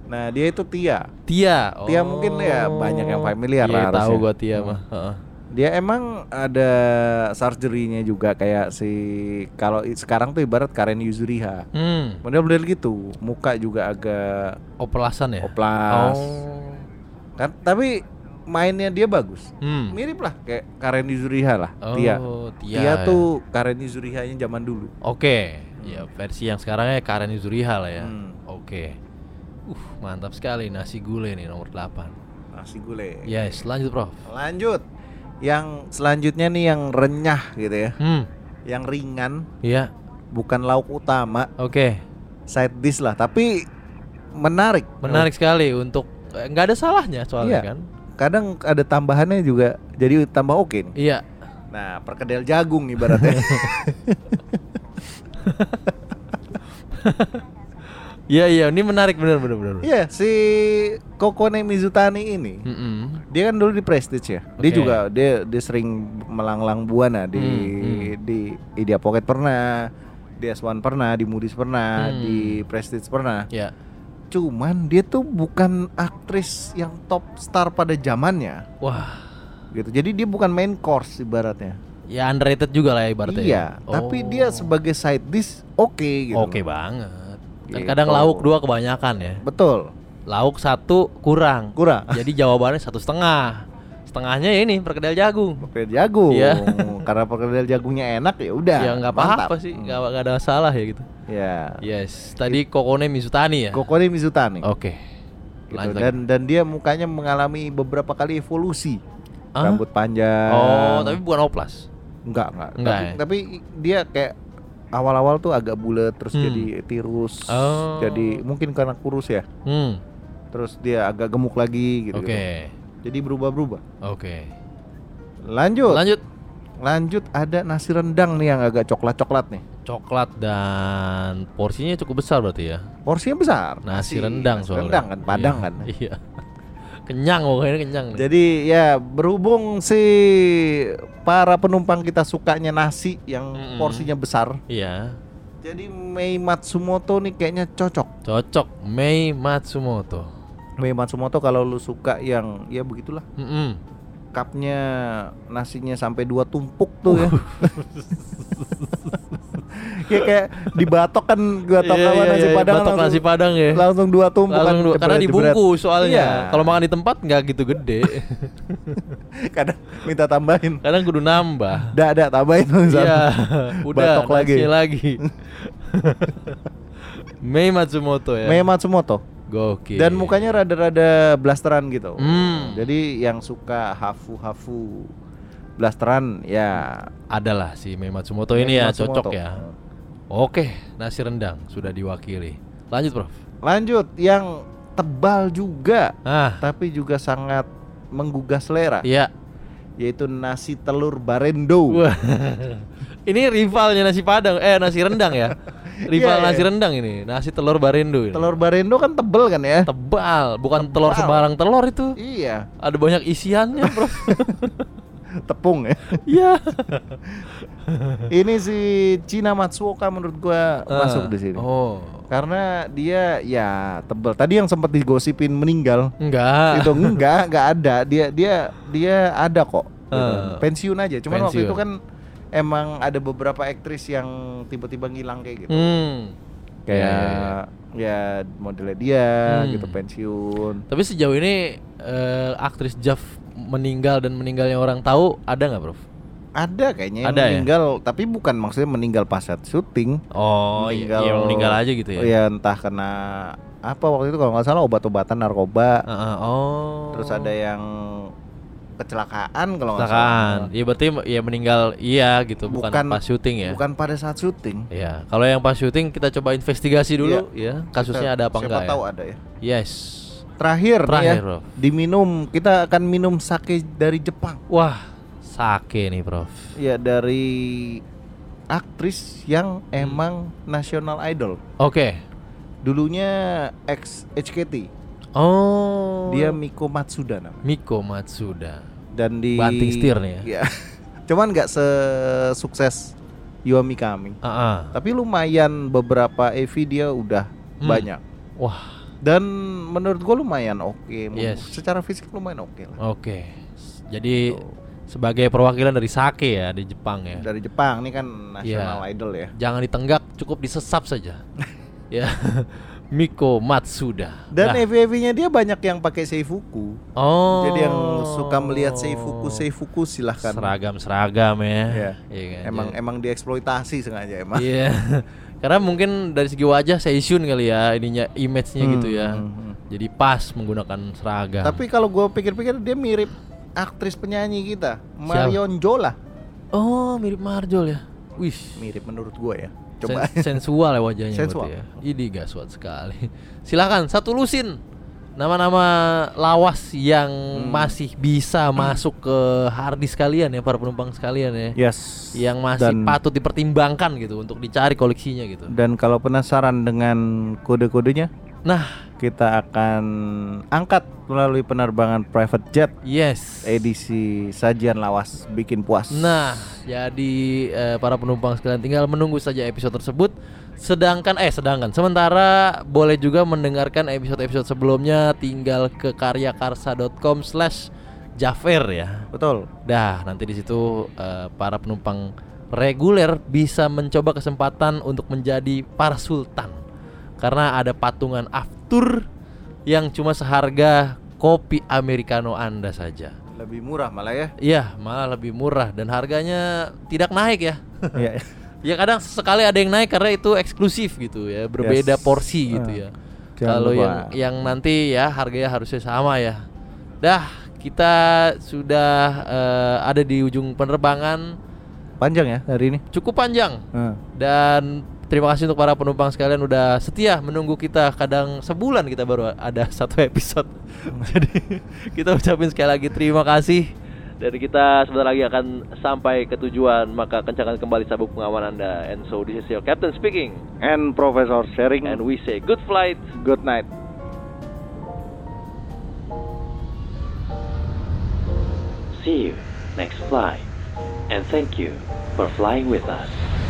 Speaker 3: Nah, dia itu Tia.
Speaker 4: Tia.
Speaker 3: Tia mungkin ya banyak yang familiar
Speaker 4: iya,
Speaker 3: lah
Speaker 4: tahu
Speaker 3: harusnya.
Speaker 4: gua Tia
Speaker 3: Hmm.
Speaker 4: mah. Heeh.
Speaker 3: Dia emang ada surgery-nya juga kayak si kalau i- sekarang tuh ibarat Karen Yuzuriha.
Speaker 4: Hmm.
Speaker 3: Model-model gitu, muka juga agak
Speaker 4: Opelasan ya?
Speaker 3: oplas.
Speaker 4: Oh.
Speaker 3: Kan tapi mainnya dia bagus.
Speaker 4: Hmm.
Speaker 3: Mirip lah kayak Karen Yuzuriha lah.
Speaker 4: Oh,
Speaker 3: Tia.
Speaker 4: Tia.
Speaker 3: Tia tuh Karen Yuzuriha-nya zaman dulu.
Speaker 4: Oke, ya versi yang sekarang ya Karen Yuzuriha lah ya.
Speaker 3: Hmm.
Speaker 4: Oke. Uh, mantap sekali nasi gulai nih nomor 8.
Speaker 3: Nasi gulai.
Speaker 4: Yes, lanjut, Prof.
Speaker 3: Nah, Lanjut. Yang selanjutnya nih yang renyah gitu ya.
Speaker 4: Hmm.
Speaker 3: Yang ringan,
Speaker 4: Iya.
Speaker 3: bukan lauk utama,
Speaker 4: Oke.
Speaker 3: side dish lah, tapi menarik.
Speaker 4: Menarik sekali untuk eh, nggak ada salahnya soalnya
Speaker 3: Oh. Iya.
Speaker 4: kan.
Speaker 3: Kadang ada tambahannya juga jadi tambah oke nih.
Speaker 4: Iya.
Speaker 3: Nah, perkedel jagung ibaratnya.
Speaker 4: Iya, iya, ini menarik bener bener bener.
Speaker 3: Iya, si Kokone Mizutani ini
Speaker 4: Mm-mm.
Speaker 3: dia kan dulu di Prestige ya.
Speaker 4: Hmm.
Speaker 3: Dia
Speaker 4: Oke.
Speaker 3: juga dia dia sering melanglang buana di
Speaker 4: Hmm,
Speaker 3: di Idea Pocket pernah, di S1 pernah, di Moody's pernah,
Speaker 4: Hmm.
Speaker 3: di Prestige pernah.
Speaker 4: Iya.
Speaker 3: Cuman dia tuh bukan aktris yang top star pada zamannya
Speaker 4: Wah,
Speaker 3: gitu. Jadi dia bukan main course ibaratnya.
Speaker 4: ya underrated juga lah ya ibaratnya.
Speaker 3: iya,
Speaker 4: ya.
Speaker 3: tapi
Speaker 4: Oh.
Speaker 3: dia sebagai side dish oke gitu.
Speaker 4: Oke banget. Dan
Speaker 3: Gitu.
Speaker 4: kadang lauk dua kebanyakan ya.
Speaker 3: Betul.
Speaker 4: Lauk satu kurang.
Speaker 3: Kurang.
Speaker 4: Jadi jawabannya satu setengah. Setengahnya ya ini perkedel jagung.
Speaker 3: Perkedel jagung.
Speaker 4: Iya.
Speaker 3: Karena perkedel jagungnya enak ya udah.
Speaker 4: ya nggak
Speaker 3: mantap.
Speaker 4: apa-apa sih,
Speaker 3: Hmm.
Speaker 4: nggak nggak ada masalah ya gitu.
Speaker 3: Ya.
Speaker 4: Yes, tadi Kokone Mizutani ya.
Speaker 3: Kokone Mizutani.
Speaker 4: Oke.
Speaker 3: Gitu.
Speaker 4: Lanjut lagi.
Speaker 3: Dan dan dia mukanya mengalami beberapa kali evolusi.
Speaker 4: Ah?
Speaker 3: Rambut panjang.
Speaker 4: Oh, tapi bukan oplas.
Speaker 3: enggak enggak.
Speaker 4: Enggak
Speaker 3: tapi,
Speaker 4: ya?
Speaker 3: tapi dia kayak awal-awal tuh agak bulat terus
Speaker 4: Hmm.
Speaker 3: jadi tirus.
Speaker 4: Oh.
Speaker 3: Jadi mungkin karena kurus ya.
Speaker 4: Hmm.
Speaker 3: Terus dia agak gemuk lagi gitu.
Speaker 4: Oke.
Speaker 3: Jadi berubah-berubah.
Speaker 4: Oke.
Speaker 3: Lanjut.
Speaker 4: Lanjut
Speaker 3: Lanjut ada nasi rendang nih yang agak coklat-coklat nih.
Speaker 4: coklat dan porsinya cukup besar berarti ya.
Speaker 3: Porsinya besar.
Speaker 4: Nasi rendang
Speaker 3: nasi
Speaker 4: soalnya.
Speaker 3: rendang kan Padang
Speaker 4: Iya.
Speaker 3: kan.
Speaker 4: Iya. Kenyang pokoknya kenyang. nih.
Speaker 3: Jadi ya berhubung si para penumpang kita sukanya nasi yang
Speaker 4: Mm-mm.
Speaker 3: porsinya besar.
Speaker 4: Iya.
Speaker 3: Jadi Mei Matsumoto nih kayaknya cocok.
Speaker 4: Cocok Mei Matsumoto.
Speaker 3: Mei Matsumoto kalau lu suka yang ya begitulah
Speaker 4: Mm-mm.
Speaker 3: cupnya nasinya sampai dua tumpuk tuh
Speaker 4: Uh.
Speaker 3: ya. ya kayak dibatok kan gua tau
Speaker 4: Iya,
Speaker 3: sama
Speaker 4: iya,
Speaker 3: nasi
Speaker 4: iya,
Speaker 3: padang
Speaker 4: batok nasi
Speaker 3: langsung,
Speaker 4: padang ya.
Speaker 3: langsung dua tumpuk
Speaker 4: Langsung
Speaker 3: kan,
Speaker 4: dua- karena
Speaker 3: jebret-jebret.
Speaker 4: dibungkus soalnya.
Speaker 3: Iya.
Speaker 4: Kalau makan di tempat nggak gitu gede.
Speaker 3: kadang minta tambahin
Speaker 4: Kadang kudu nambah.
Speaker 3: Dah, dah, tambahin dong satu.
Speaker 4: Iya, udah
Speaker 3: Batok lagi.
Speaker 4: nasinya lagi. Mei Matsumoto ya.
Speaker 3: Mei Matsumoto
Speaker 4: Gokil.
Speaker 3: dan mukanya rada-rada blasteran gitu.
Speaker 4: Hmm.
Speaker 3: Jadi yang suka hafu-hafu blasteran ya
Speaker 4: adalah si Mei Matsumoto
Speaker 3: Mei
Speaker 4: ini ya cocok
Speaker 3: Matsumoto.
Speaker 4: ya. Oke, nasi rendang sudah diwakili. Lanjut, Prof.
Speaker 3: lanjut yang tebal juga
Speaker 4: Ah,
Speaker 3: tapi juga sangat menggugah selera
Speaker 4: iya.
Speaker 3: yaitu nasi telur barendo.
Speaker 4: Wah. ini rivalnya nasi Padang, eh nasi rendang ya. Rival
Speaker 3: Iya, iya.
Speaker 4: nasi rendang ini, nasi telur barendo ini.
Speaker 3: Telur barendo kan tebel kan ya?
Speaker 4: tebal, bukan telur
Speaker 3: Tebal.
Speaker 4: sembarang telur itu.
Speaker 3: Iya,
Speaker 4: Ada banyak isiannya, Prof.
Speaker 3: tepung ya.
Speaker 4: Iya.
Speaker 3: Ini si Cina Matsuoka menurut gua masuk di sini.
Speaker 4: Ah. Oh.
Speaker 3: Karena dia ya tebel. Tadi yang sempat digosipin meninggal
Speaker 4: Enggak.
Speaker 3: itu enggak enggak ada dia dia dia ada kok gitu.
Speaker 4: Ah.
Speaker 3: pensiun aja cuman waktu
Speaker 4: Pensiun.
Speaker 3: itu kan emang ada beberapa aktris yang tiba-tiba ngilang kayak gitu
Speaker 4: Hmm.
Speaker 3: kayak
Speaker 4: Iya, iya,
Speaker 3: ya modelnya dia
Speaker 4: Hmm.
Speaker 3: gitu pensiun
Speaker 4: Tapi sejauh ini eh, aktris Jav meninggal dan meninggalnya orang tahu ada nggak, Prof?
Speaker 3: ada kayaknya yang
Speaker 4: Ada ya?
Speaker 3: meninggal tapi bukan maksudnya meninggal pas saat syuting
Speaker 4: Oh, iya, iya, meninggal aja gitu ya.
Speaker 3: ya entah kena apa waktu itu kalau nggak salah obat-obatan narkoba
Speaker 4: Heeh, oh.
Speaker 3: terus ada yang kecelakaan kalau nggak
Speaker 4: kecelakaan.
Speaker 3: salah
Speaker 4: Iya berarti ya meninggal iya gitu, bukan,
Speaker 3: Bukan-
Speaker 4: pas syuting ya.
Speaker 3: bukan pada saat syuting
Speaker 4: Iya, kalau yang pas syuting kita coba investigasi dulu ya, kasusnya ada apa
Speaker 3: Iya. siapa
Speaker 4: enggak
Speaker 3: tahu
Speaker 4: ya.
Speaker 3: ada ya
Speaker 4: Yes.
Speaker 3: Terakhir, nih
Speaker 4: Terakhir,
Speaker 3: ya,
Speaker 4: Prof.
Speaker 3: diminum kita akan minum sake dari Jepang.
Speaker 4: Wah, sake nih, Prof.
Speaker 3: Ya dari aktris yang
Speaker 4: Hmm.
Speaker 3: emang national idol.
Speaker 4: Oke.
Speaker 3: Dulunya ex HKT.
Speaker 4: Oh.
Speaker 3: Dia Miko Matsuda namanya.
Speaker 4: Miko Matsuda.
Speaker 3: Dan di
Speaker 4: Banting setir nih ya.
Speaker 3: Iya. Cuman nggak sesukses Yuami Kami.
Speaker 4: Ah. ah.
Speaker 3: Tapi lumayan beberapa EV dia udah
Speaker 4: Hmm.
Speaker 3: banyak.
Speaker 4: Wah,
Speaker 3: Dan menurut gua lumayan oke.
Speaker 4: Yes.
Speaker 3: Secara fisik lumayan oke lah.
Speaker 4: oke. Jadi sebagai perwakilan dari sake ya di Jepang ya.
Speaker 3: dari Jepang ini kan national
Speaker 4: Iya.
Speaker 3: idol ya
Speaker 4: Jangan ditenggak, cukup disesap saja. ya. Miko Matsuda.
Speaker 3: dan
Speaker 4: Nah,
Speaker 3: FVV-nya dia banyak yang pakai seifuku
Speaker 4: oh.
Speaker 3: jadi yang suka melihat seifuku seifuku silahkan
Speaker 4: seragam-seragam ya.
Speaker 3: Iya.
Speaker 4: Oh. Iya kan,
Speaker 3: emang
Speaker 4: jadi-
Speaker 3: emang dieksploitasi sengaja emang
Speaker 4: Iya. Karena mungkin dari segi wajah Seisyun kali ya ininya image-nya gitu
Speaker 3: Hmm,
Speaker 4: ya.
Speaker 3: hmm, hmm.
Speaker 4: Jadi pas menggunakan seragam.
Speaker 3: tapi kalau gue pikir-pikir dia mirip aktris penyanyi kita Marion Jola
Speaker 4: oh, mirip Marjol ya. Wih.
Speaker 3: mirip menurut gue ya coba
Speaker 4: sen- sensual ya wajahnya
Speaker 3: Sensual.
Speaker 4: berarti ya. Ini gaswat sekali. Silakan satu lusin nama-nama lawas yang
Speaker 3: Hmm.
Speaker 4: masih bisa masuk ke harddisk kalian ya para penumpang sekalian ya.
Speaker 3: yes
Speaker 4: Yang masih
Speaker 3: Dan-
Speaker 4: patut dipertimbangkan gitu untuk dicari koleksinya gitu.
Speaker 3: dan kalau penasaran dengan kode-kodenya
Speaker 4: Nah,
Speaker 3: kita akan angkat melalui penerbangan private jet
Speaker 4: yes.
Speaker 3: edisi sajian lawas bikin puas.
Speaker 4: Nah, jadi eh, para penumpang sekalian tinggal menunggu saja episode tersebut. Sedangkan eh sedangkan sementara boleh juga mendengarkan episode-episode sebelumnya tinggal ke karyakarsa.com/jafer ya.
Speaker 3: betul.
Speaker 4: Dah, nanti di situ eh, para penumpang reguler bisa mencoba kesempatan untuk menjadi para sultan. Karena ada patungan aftur yang cuma seharga kopi americano Anda saja.
Speaker 3: Lebih murah malah ya.
Speaker 4: Iya, malah lebih murah dan harganya tidak naik ya.
Speaker 3: Iya.
Speaker 4: ya kadang sekali ada yang naik karena itu eksklusif gitu ya, berbeda
Speaker 3: Yes.
Speaker 4: porsi gitu
Speaker 3: Ah,
Speaker 4: ya.
Speaker 3: jangan
Speaker 4: Kalau
Speaker 3: lupa.
Speaker 4: yang yang nanti ya harganya harusnya sama ya. Dah, kita sudah eh, ada di ujung penerbangan
Speaker 3: Panjang ya hari ini.
Speaker 4: cukup panjang
Speaker 3: Nah,
Speaker 4: dan terima kasih untuk para penumpang sekalian udah setia menunggu kita kadang sebulan kita baru ada satu episode jadi kita ucapin sekali lagi terima kasih
Speaker 2: Dan kita sebentar lagi akan sampai ke tujuan, maka kencangkan kembali sabuk pengaman Anda. And so this is your captain speaking.
Speaker 3: And Profesor Sharing
Speaker 2: And we say good flight.
Speaker 3: good night.
Speaker 2: See you next flight. And thank you for flying with us.